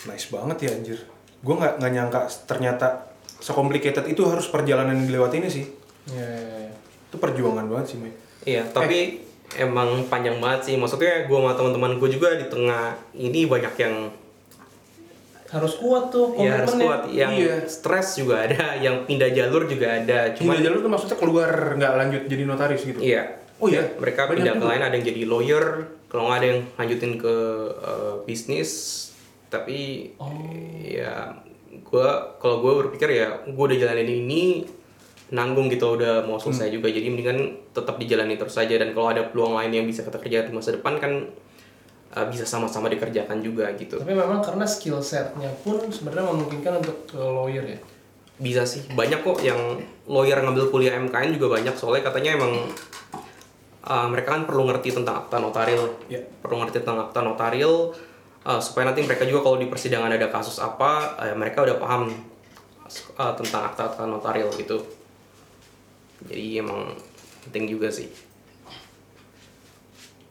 Nice banget ya anjir. Gue nggak nggak nyangka ternyata se-complicated itu harus perjalanan yang dilewati ini sih. Iya, iya, iya. Itu perjuangan banget sih, Mei. Iya, tapi emang panjang banget sih. Maksudnya gue sama teman-teman gue juga di tengah ini banyak yang harus kuat tuh komitmennya ya harus kuat, yang Iya. stres juga ada, yang pindah jalur juga ada. Cuma Cuman jalur tuh maksudnya keluar nggak lanjut jadi notaris gitu. iya, Oh iya. mereka Banyak pindah ke juga. lain ada yang jadi lawyer, kalau nggak ada yang lanjutin ke eh, bisnis. Tapi ya gue kalau gue berpikir ya gue udah jalanin ini nanggung gitu udah mau selesai juga jadi mendingan tetap dijalani terus saja dan kalau ada peluang lain yang bisa kita kerjakan di masa depan kan eh, bisa sama-sama dikerjakan juga gitu tapi memang karena skill setnya pun sebenarnya memungkinkan untuk ke lawyer ya bisa sih banyak kok yang lawyer ngambil kuliah MKN juga banyak soalnya katanya emang uh, mereka kan perlu ngerti tentang akta notaril Iya. perlu ngerti tentang akta notaril uh, supaya nanti mereka juga kalau di persidangan ada kasus apa eh, mereka udah paham uh, tentang akta akta notaril gitu jadi emang penting juga sih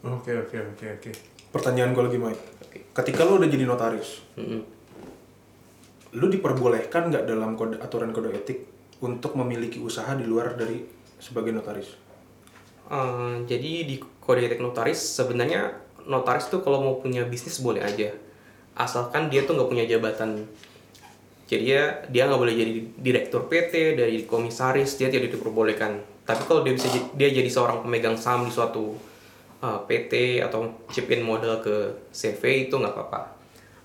Oke oke oke oke. Pertanyaan gue lagi, Mike. Ketika lo udah jadi notaris, Mm-mm. lo diperbolehkan nggak dalam kode, aturan kode etik untuk memiliki usaha di luar dari sebagai notaris? Eh, jadi di kode etik notaris sebenarnya notaris tuh kalau mau punya bisnis boleh aja asalkan dia tuh nggak punya jabatan jadi ya dia nggak boleh jadi direktur PT dari komisaris dia tidak diperbolehkan tapi kalau dia bisa j- dia jadi seorang pemegang saham di suatu eh, PT atau chip in modal ke CV itu nggak apa-apa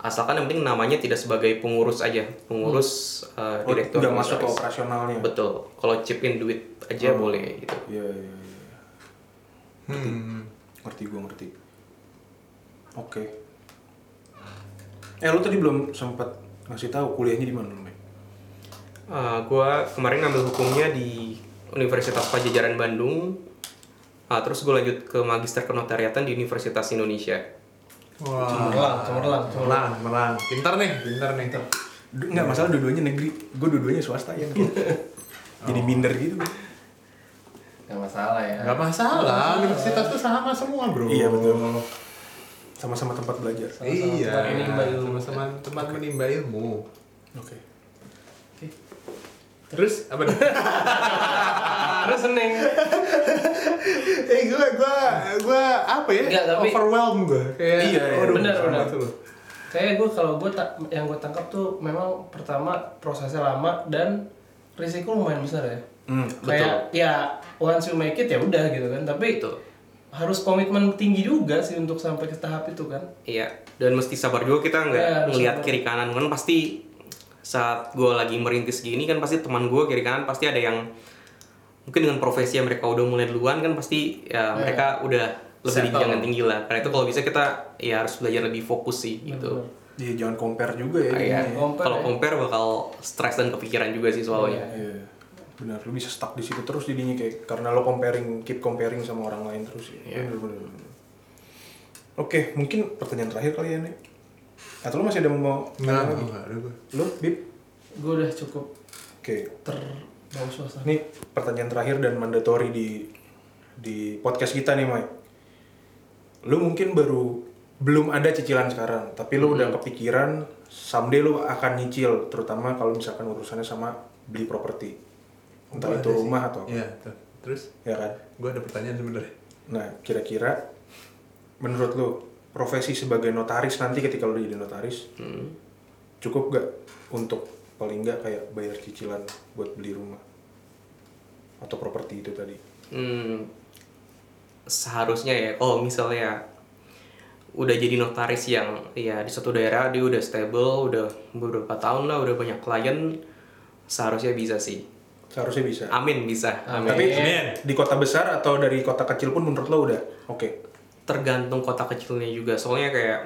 asalkan yang penting namanya tidak sebagai pengurus aja pengurus eh, Oh, direktur udah masuk ke komisaris. operasionalnya. betul kalau chip in duit aja Oh. boleh gitu Iya, iya, iya. Hmm. Ngerti gue ngerti. Oke. Eh lu tadi belum sempat ngasih tahu kuliahnya di mana lu, Mike? gue Eh, kemarin ngambil hukumnya di Universitas Pajajaran Bandung. Ah, terus gue lanjut ke magister kenotariatan di Universitas Indonesia. Ah. cemerlang cemerlang cemerlang Merang merang. Pintar nih pintar nih. Du- Nggak masalah dua-duanya negeri. Gue dua-duanya swasta [laughs] ya. Jadi minder gitu. nggak masalah ya Gak masalah. Universitas tuh sama semua bro. Iya, betul. Sama-sama tempat belajar. Sama-sama Iya. tempat menimba ilmu. Sama-sama tempat menimba ilmu. Oke. Terus apa? nih? harus seneng [laughs] eh gue gue gue apa ya? Nggak, tapi- Overwhelmed gue. Kayak, Iya, iya. aduh, Bener, sama bener. tuh. kayak gue kalau gue tak yang gue tangkap tuh memang pertama prosesnya lama dan risiko lumayan besar ya Hmm. kayak ya once you make it ya udah gitu kan tapi Betul. harus komitmen tinggi juga sih untuk sampai ke tahap itu kan [laughs] Iya, dan mesti sabar juga kita nggak Iya, harus ngelihat sabar. kiri kanan kan pasti saat gue lagi merintis gini kan pasti teman gue kiri kanan pasti ada yang mungkin dengan profesi yang mereka udah mulai duluan kan pasti ya, mereka udah lebih di Settle. jangan tinggi lah. Karena itu kalau bisa kita ya harus belajar lebih fokus sih gitu. Bener. Iya, jangan compare juga ya. Kayak, jadinya ya. Compare kalau ya. compare bakal stres dan kepikiran juga sih soalnya. Iya. Benar, lu bisa stuck di situ terus jadinya kayak karena lo comparing, keep comparing sama orang lain terus. ya. Iya. Benar, benar, benar. Oke, mungkin pertanyaan terakhir kali ya, Nek. Atau lu masih ada yang mau Nggak, Nah, nggak ada gue. Lu, Bib? gue udah cukup Oke. terbawa suasana Ini pertanyaan terakhir dan mandatory di di podcast kita nih, Mike. Lu mungkin baru belum ada cicilan sekarang, tapi lu Hmm. udah kepikiran someday lu akan nyicil, terutama kalau misalkan urusannya sama beli properti. Entah Gua itu ada sih. rumah atau apa. Iya, tuh. Terus Ya kan? gue ada pertanyaan sebenarnya. Nah, kira-kira menurut lu profesi sebagai notaris nanti ketika lu jadi notaris Hmm. cukup gak untuk paling nggak kayak bayar cicilan buat beli rumah atau properti itu tadi? Hmm, seharusnya ya kalau misalnya udah jadi notaris iya, yang ya di suatu daerah dia udah stable udah beberapa tahun lah udah banyak klien seharusnya bisa sih Seharusnya bisa. amin bisa amin. Tapi Amin. di kota besar atau dari kota kecil pun menurut lo udah oke. tergantung kota kecilnya juga soalnya kayak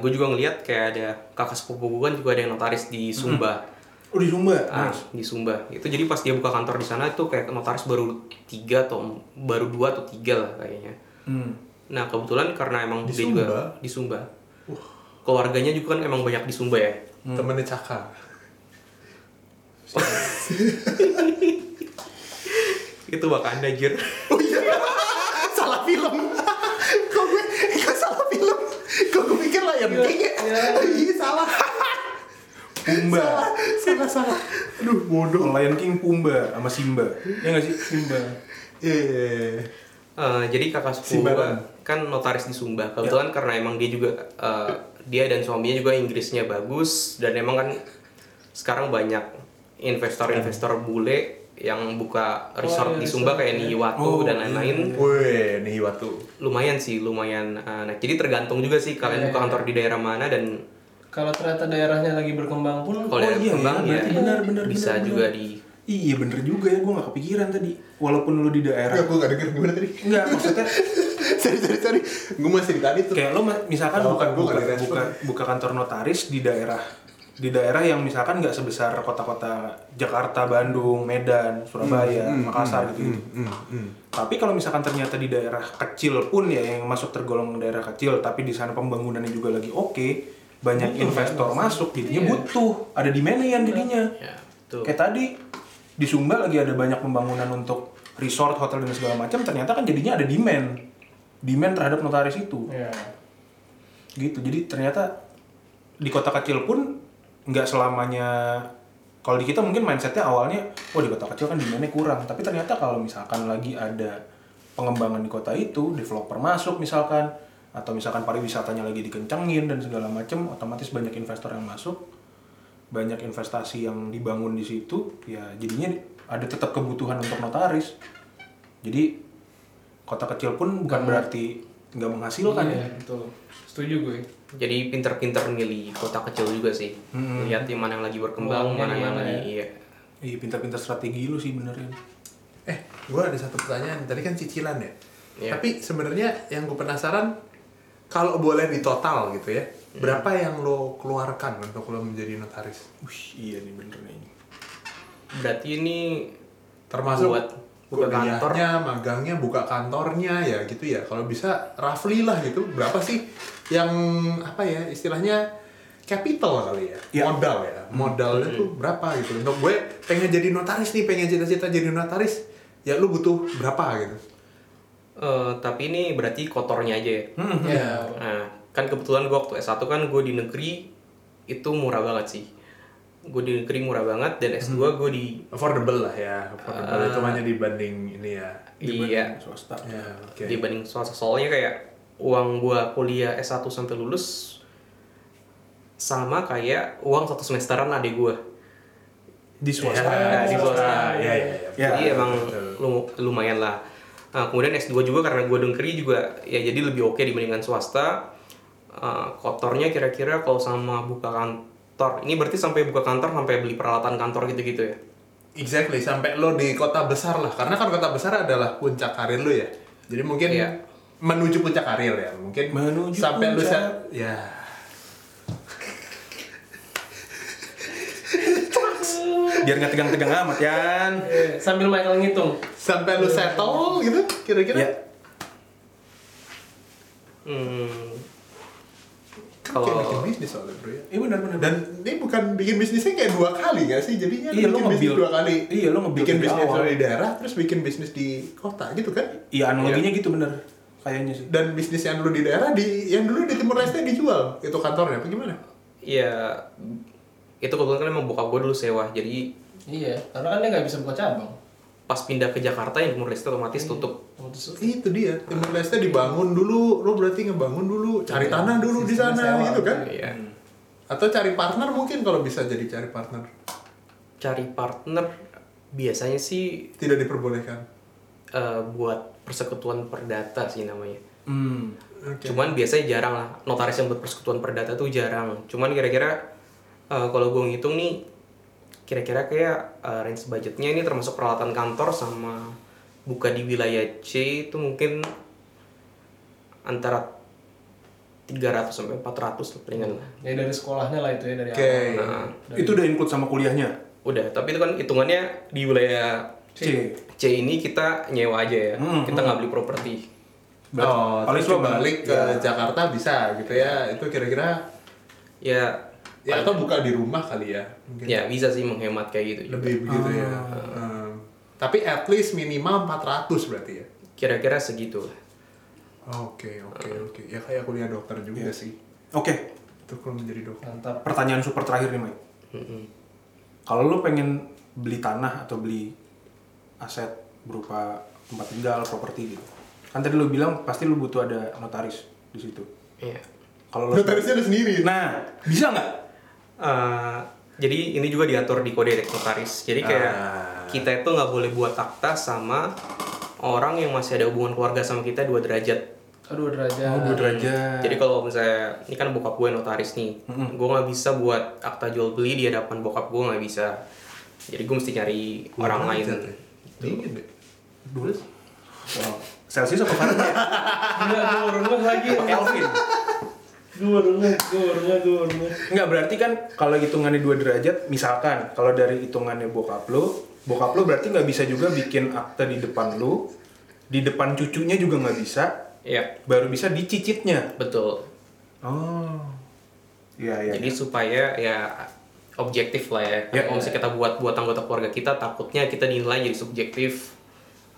gue juga ngeliat kayak ada kakak sepupu gue kan juga ada yang notaris di Sumba Oh di Sumba. Ah, di Sumba itu jadi pas dia buka kantor di sana itu kayak notaris baru tiga atau baru dua atau tiga lah kayaknya Hmm. nah kebetulan karena emang Di dia Sumba? juga di Sumba keluarganya juga kan emang banyak di Sumba ya Temennya Caka. itu Wakanda jir Oh, iya. [laughs] salah film. [laughs] Kok gue enggak salah film. Kok gue pikir Lion King ya? [laughs] Iya salah. Pumba. Salah, salah, salah. Aduh, bodoh. Lion King Pumba sama Simba. Ya nggak sih? Simba. Iya, iya, iya. [laughs] Eh, jadi kakak sepupu Simbaran. gua kan notaris di Sumba kebetulan karena emang dia juga eh, dia dan suaminya juga Inggrisnya bagus dan emang kan sekarang banyak investor-investor bule yang buka Oh, resort iya, di Sumba resort, kayak iya. Niiwatu Oh, dan iya, lain-lain Weh, nih Watu. lumayan sih lumayan eh, nah jadi tergantung juga sih kalian Iya, buka iya. kantor di daerah mana dan Kalau ternyata daerahnya lagi berkembang pun kalau Oh, daerah iya, berkembang iya, ya berarti benar, benar, bisa benar, juga benar. di Iya bener juga ya, gue nggak kepikiran tadi. Walaupun lu di Enggak, daerah. gue gak denger gimana tadi. [laughs] Enggak, maksudnya sorry, sorry, sorry. Gue masih di tadi tuh. kayak lo ma- misalkan Tahu buka, kan, gua buka, nggak direspon. buka, buka kantor notaris di daerah di daerah yang misalkan nggak sebesar kota-kota Jakarta, Bandung, Medan, Surabaya, Makassar gitu. Hmm, hmm. Tapi kalau misalkan ternyata di daerah kecil pun ya yang masuk tergolong daerah kecil, tapi di sana pembangunannya juga lagi oke, banyak investor masuk, jadinya Iya. butuh, ada demand-nya jadinya. ya betul. Kayak tadi di Sumba lagi ada banyak pembangunan untuk resort, hotel dan segala macam, ternyata kan jadinya ada demand, demand terhadap notaris itu, Iya. gitu. Jadi ternyata di kota kecil pun nggak selamanya kalau di kita mungkin mindsetnya awalnya, wah di kota kecil kan demandnya kurang. Tapi ternyata kalau misalkan lagi ada pengembangan di kota itu, developer masuk misalkan, atau misalkan pariwisatanya lagi dikencengin dan segala macam, otomatis banyak investor yang masuk, banyak investasi yang dibangun di situ, ya jadinya ada tetap kebutuhan untuk notaris. Jadi kota kecil pun bukan berarti nggak menghasilkan Iya, ya. betul. Setuju gue. jadi pinter-pinter milih kota kecil juga sih lihat yang mana yang lagi berkembang Peluangnya mana yang di mana lagi iya Iya pintar-pintar strategi lu sih benerin. Eh, gue ada satu pertanyaan. Tadi kan cicilan ya. Iya. Tapi sebenarnya yang gue penasaran, kalau boleh di total gitu ya, berapa yang lo keluarkan untuk lo menjadi notaris? Wih, iya nih bener nih. berarti ini Termasuk Buat buka kuliahnya, kantor. magangnya, buka kantornya ya gitu ya. Kalau bisa roughly lah gitu, berapa sih yang apa ya istilahnya capital kali ya, Iya. modal ya, modalnya tuh berapa gitu. Untuk gue pengen jadi notaris nih, pengen cita-cita jadi notaris, ya lu butuh berapa gitu? eh, tapi ini berarti kotornya aja ya Iya. nah kan kebetulan gue waktu S1 kan gue di negeri itu murah banget sih gue di negeri murah banget dan S2 gue di affordable lah ya affordable itu hanya dibanding ini ya iya Swasta. ya oke dibanding swasta soalnya kayak uang gue kuliah S1 sampai lulus sama kayak uang satu semesteran adik gue Di swasta. Ya, Iya, di swasta. ya ya Ya, jadi emang lum- lumayan lah. Nah, kemudian S2 juga karena gue negeri juga ya jadi lebih oke dibandingkan swasta. Eh, kotornya kira-kira kalau sama buka kantor, ini berarti sampai buka kantor sampai beli peralatan kantor gitu-gitu ya? exactly sampai lo di kota besar lah karena kan kota besar adalah puncak karir lo ya jadi mungkin Iya. menuju puncak karir ya mungkin Menuju sampai lu puncak. sa- ya Biar nggak tegang-tegang amat, Yan. Eh, [laughs] Sambil Michael ngitung. sampai lu settle gitu kira-kira Ya. Hmm, Kan kayak bikin kalau bisnis soalnya bro ya Iya benar-benar. dan ini bukan bikin bisnisnya kayak dua kali gak sih jadinya Iya, lu lo bikin bisnis nge-build. dua kali Iya, lo nge-build bikin dari bisnis awal. di daerah terus bikin bisnis di kota gitu kan Iya analoginya gitu bener. Kayaknya sih. dan bisnis yang dulu di daerah di yang dulu di Timur Leste dijual itu kantornya apa gimana? ya itu kebetulan kan emang bokap gue dulu sewa, jadi Iya, karena kan dia nggak bisa buka cabang. pas pindah ke Jakarta yang Timur Leste otomatis tutup. Untuk Itu dia Timur Leste dibangun dulu, lo berarti ngebangun dulu, cari tanah dulu di Sistemnya sana sewa. gitu kan? Iya. Atau cari partner mungkin kalau bisa jadi cari partner Cari partner biasanya sih tidak diperbolehkan. eh, buat persekutuan perdata sih namanya. Hmm. Oke. Cuman biasanya jarang lah notaris yang buat persekutuan perdata tuh jarang. Cuman kira-kira eh, kalau gue ngitung nih kira-kira kayak eh, range budgetnya ini termasuk peralatan kantor sama buka di wilayah C itu mungkin antara 300 sampai 400 lah palingan lah. Ya dari sekolahnya lah itu ya dari Oke. awal. Nah, Hmm. Itu udah include sama kuliahnya. udah, tapi itu kan hitungannya di wilayah C. C ini kita nyewa aja ya. Hmm, kita nggak beli properti. Berarti oh, paling paling cuma balik Iya. ke Jakarta bisa gitu ya. Itu kira-kira Ya ya atau buka di rumah kali ya. Mungkin ya bisa sih menghemat kayak gitu. juga. lebih begitu ya. Hmm. Tapi at least minimal 400 berarti ya. Kira-kira segitu lah. Oke, oke, oke. Ya kayak kuliah dokter juga sih. Oke, Itu kalau menjadi dokter. Mantap. pertanyaan super terakhir nih, Mike. Hmm. Kalau lu pengen beli tanah atau beli aset berupa tempat tinggal, properti gitu. Kan tadi lu bilang pasti lu butuh ada notaris di situ. Iya. Kalau lu Notarisnya ada sendiri. Nah, bisa nggak? Eh, jadi ini juga diatur di kode notaris. Jadi kayak Ah. kita itu nggak boleh buat akta sama orang yang masih ada hubungan keluarga sama kita dua derajat. Aduh derajat. Oh, dua derajat. Jadi kalau misalnya ini kan bokap gue notaris nih, gue nggak bisa buat akta jual beli di hadapan bokap gue nggak bisa. Jadi gue mesti nyari orang lain. Dingin deh. Dulu. Wow. Celsius apa Fahrenheit? Gila gue urungnya lagi. Kelvin. Gue urungnya, gue urungnya, gue urungnya. Nggak berarti kan kalau hitungannya dua derajat, misalkan kalau dari hitungannya bokap lu, bokap lu berarti nggak bisa juga bikin akta di depan lu, di depan cucunya juga nggak bisa, Iya, baru bisa di cicitnya. betul. Oh. Iya, iya. Jadi supaya ya objektif lah ya. Ya. Kalau misalnya kita buat buat anggota keluarga kita, takutnya kita dinilai jadi subjektif,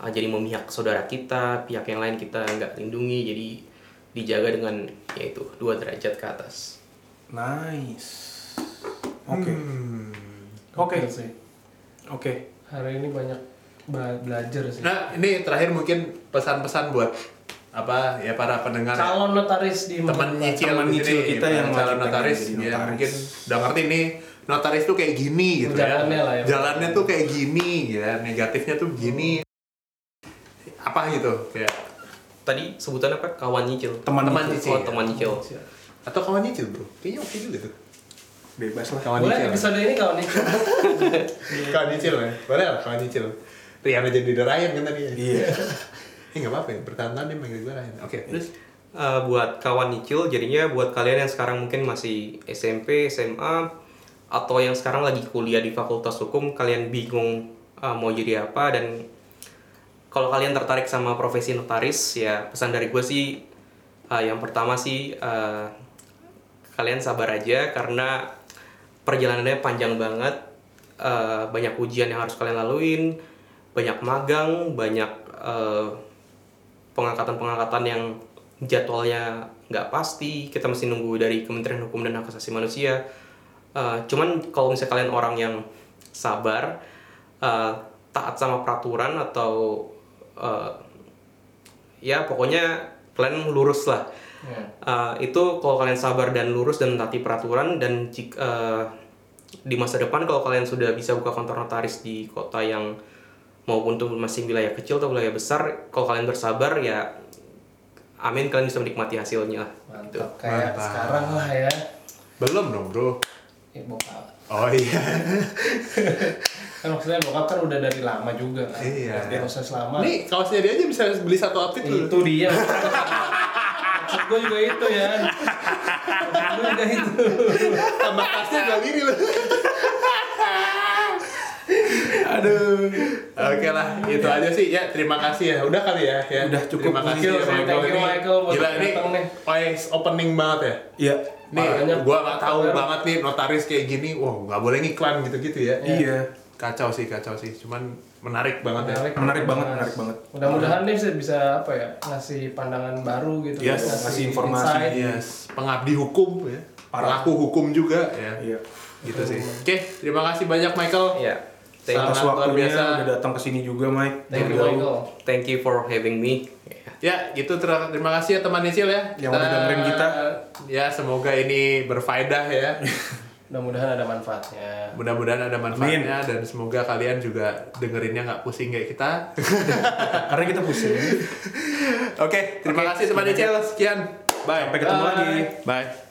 ah, jadi memihak saudara kita, pihak yang lain kita nggak lindungi, jadi dijaga dengan yaitu dua derajat ke atas. Nice. Oke. Hmm. Oke. Gokil Gitu sih. Oke. Hari ini banyak ba- belajar sih. Nah, ini terakhir mungkin pesan-pesan buat apa ya para pendengar ya. Calon notaris di teman nyicil Teman di nyicil sini, kita yang calon lagi pengen notaris, jadi ya notaris. mungkin udah ngerti nih notaris tuh kayak gini gitu Jalannya ya. lah ya. Jalannya tuh kayak gini ya, negatifnya tuh begini. Apa gitu kayak Tadi sebutan apa? Kawan nyicil. Teman Teman nyicil. Iya. nyicil. Oh, teman nyicil. atau kawan nyicil, Bro. Kayaknya oke juga tuh. Bebas lah. Kawan Boleh nyicil. episode ini kawan nih. Kawan nyicil ya. Boleh lah kawan nyicil. Rian aja di Ryan kan tadi. [laughs] Iya. Ini enggak apa-apa ya, bertahan-tahan dia manggil gue Ryan. Oke, terus Eh, buat kawan nyicil jadinya buat kalian yang sekarang mungkin masih SMP, SMA atau yang sekarang lagi kuliah di Fakultas Hukum kalian bingung eh, mau jadi apa dan kalau kalian tertarik sama profesi notaris ya pesan dari gue sih eh, yang pertama sih eh, kalian sabar aja karena perjalanannya panjang banget eh, banyak ujian yang harus kalian laluin banyak magang banyak eh, pengangkatan-pengangkatan yang jadwalnya nggak pasti kita mesti nunggu dari Kementerian Hukum dan Hak Asasi Manusia Eh, cuman kalau misalnya kalian orang yang sabar eh, taat sama peraturan atau eh, ya pokoknya kalian lurus lah Ya. Uh, itu kalau kalian sabar dan lurus dan mentaati peraturan dan jik- uh, di masa depan kalau kalian sudah bisa buka kantor notaris di kota yang maupun tuh masih wilayah kecil atau wilayah besar kalau kalian bersabar ya amin kalian bisa menikmati hasilnya lah Gitu. Mantap kayak Mantap. sekarang lah ya. belum dong, Bro. Ya bokap. Oh iya. Kan maksudnya bokap kan udah dari lama juga kan. Iya. Dari Proses lama. Nih, kaosnya dia aja bisa beli satu outfit dulu. itu dia. Maksud gue juga itu ya. Maksud gue juga itu. Tambah tasnya jual diri lu. [laughs] Aduh. Oke lah, itu aja sih. Ya, terima kasih ya. Udah kali ya. ya. Udah cukup. Terima kasih ya, Thank Michael. you, thank you, Ini- Michael, buat Gila, ini datang nih. ois opening banget ya. Iya. Nih, Makanya gua gak tahu keren. banget nih notaris kayak gini. Wow, gak boleh ngiklan gitu-gitu ya. Iya. Kacau sih, kacau sih. Cuman menarik banget ya. Menarik banget, menarik banget. Mudah-mudahan dia bisa, bisa apa ya ngasih pandangan baru gitu. Yes, ngasih informasi, insight. Yes, pengabdi hukum ya. Pelaku hukum juga ya. Iya. Gitu sih. Oke, terima kasih banyak Michael. ya thank, Sangat Atas luar waktunya biasa. udah datang ke sini juga, Mike. Thank you Udah. Michael. thank you for having me Ya, Ya. gitu ter- terima kasih ya teman Nicil ya. Yang udah dengerin kita. Ya, semoga ini berfaedah [laughs] ya. Mudah-mudahan ada manfaatnya. Mudah-mudahan ada manfaatnya dan semoga kalian juga dengerinnya nggak pusing kayak [laughs] kita. Karena kita pusing. Oke, terima kasih teman Nicil. Sekian. Bye. Sampai ketemu Ah. Bye. lagi. Bye.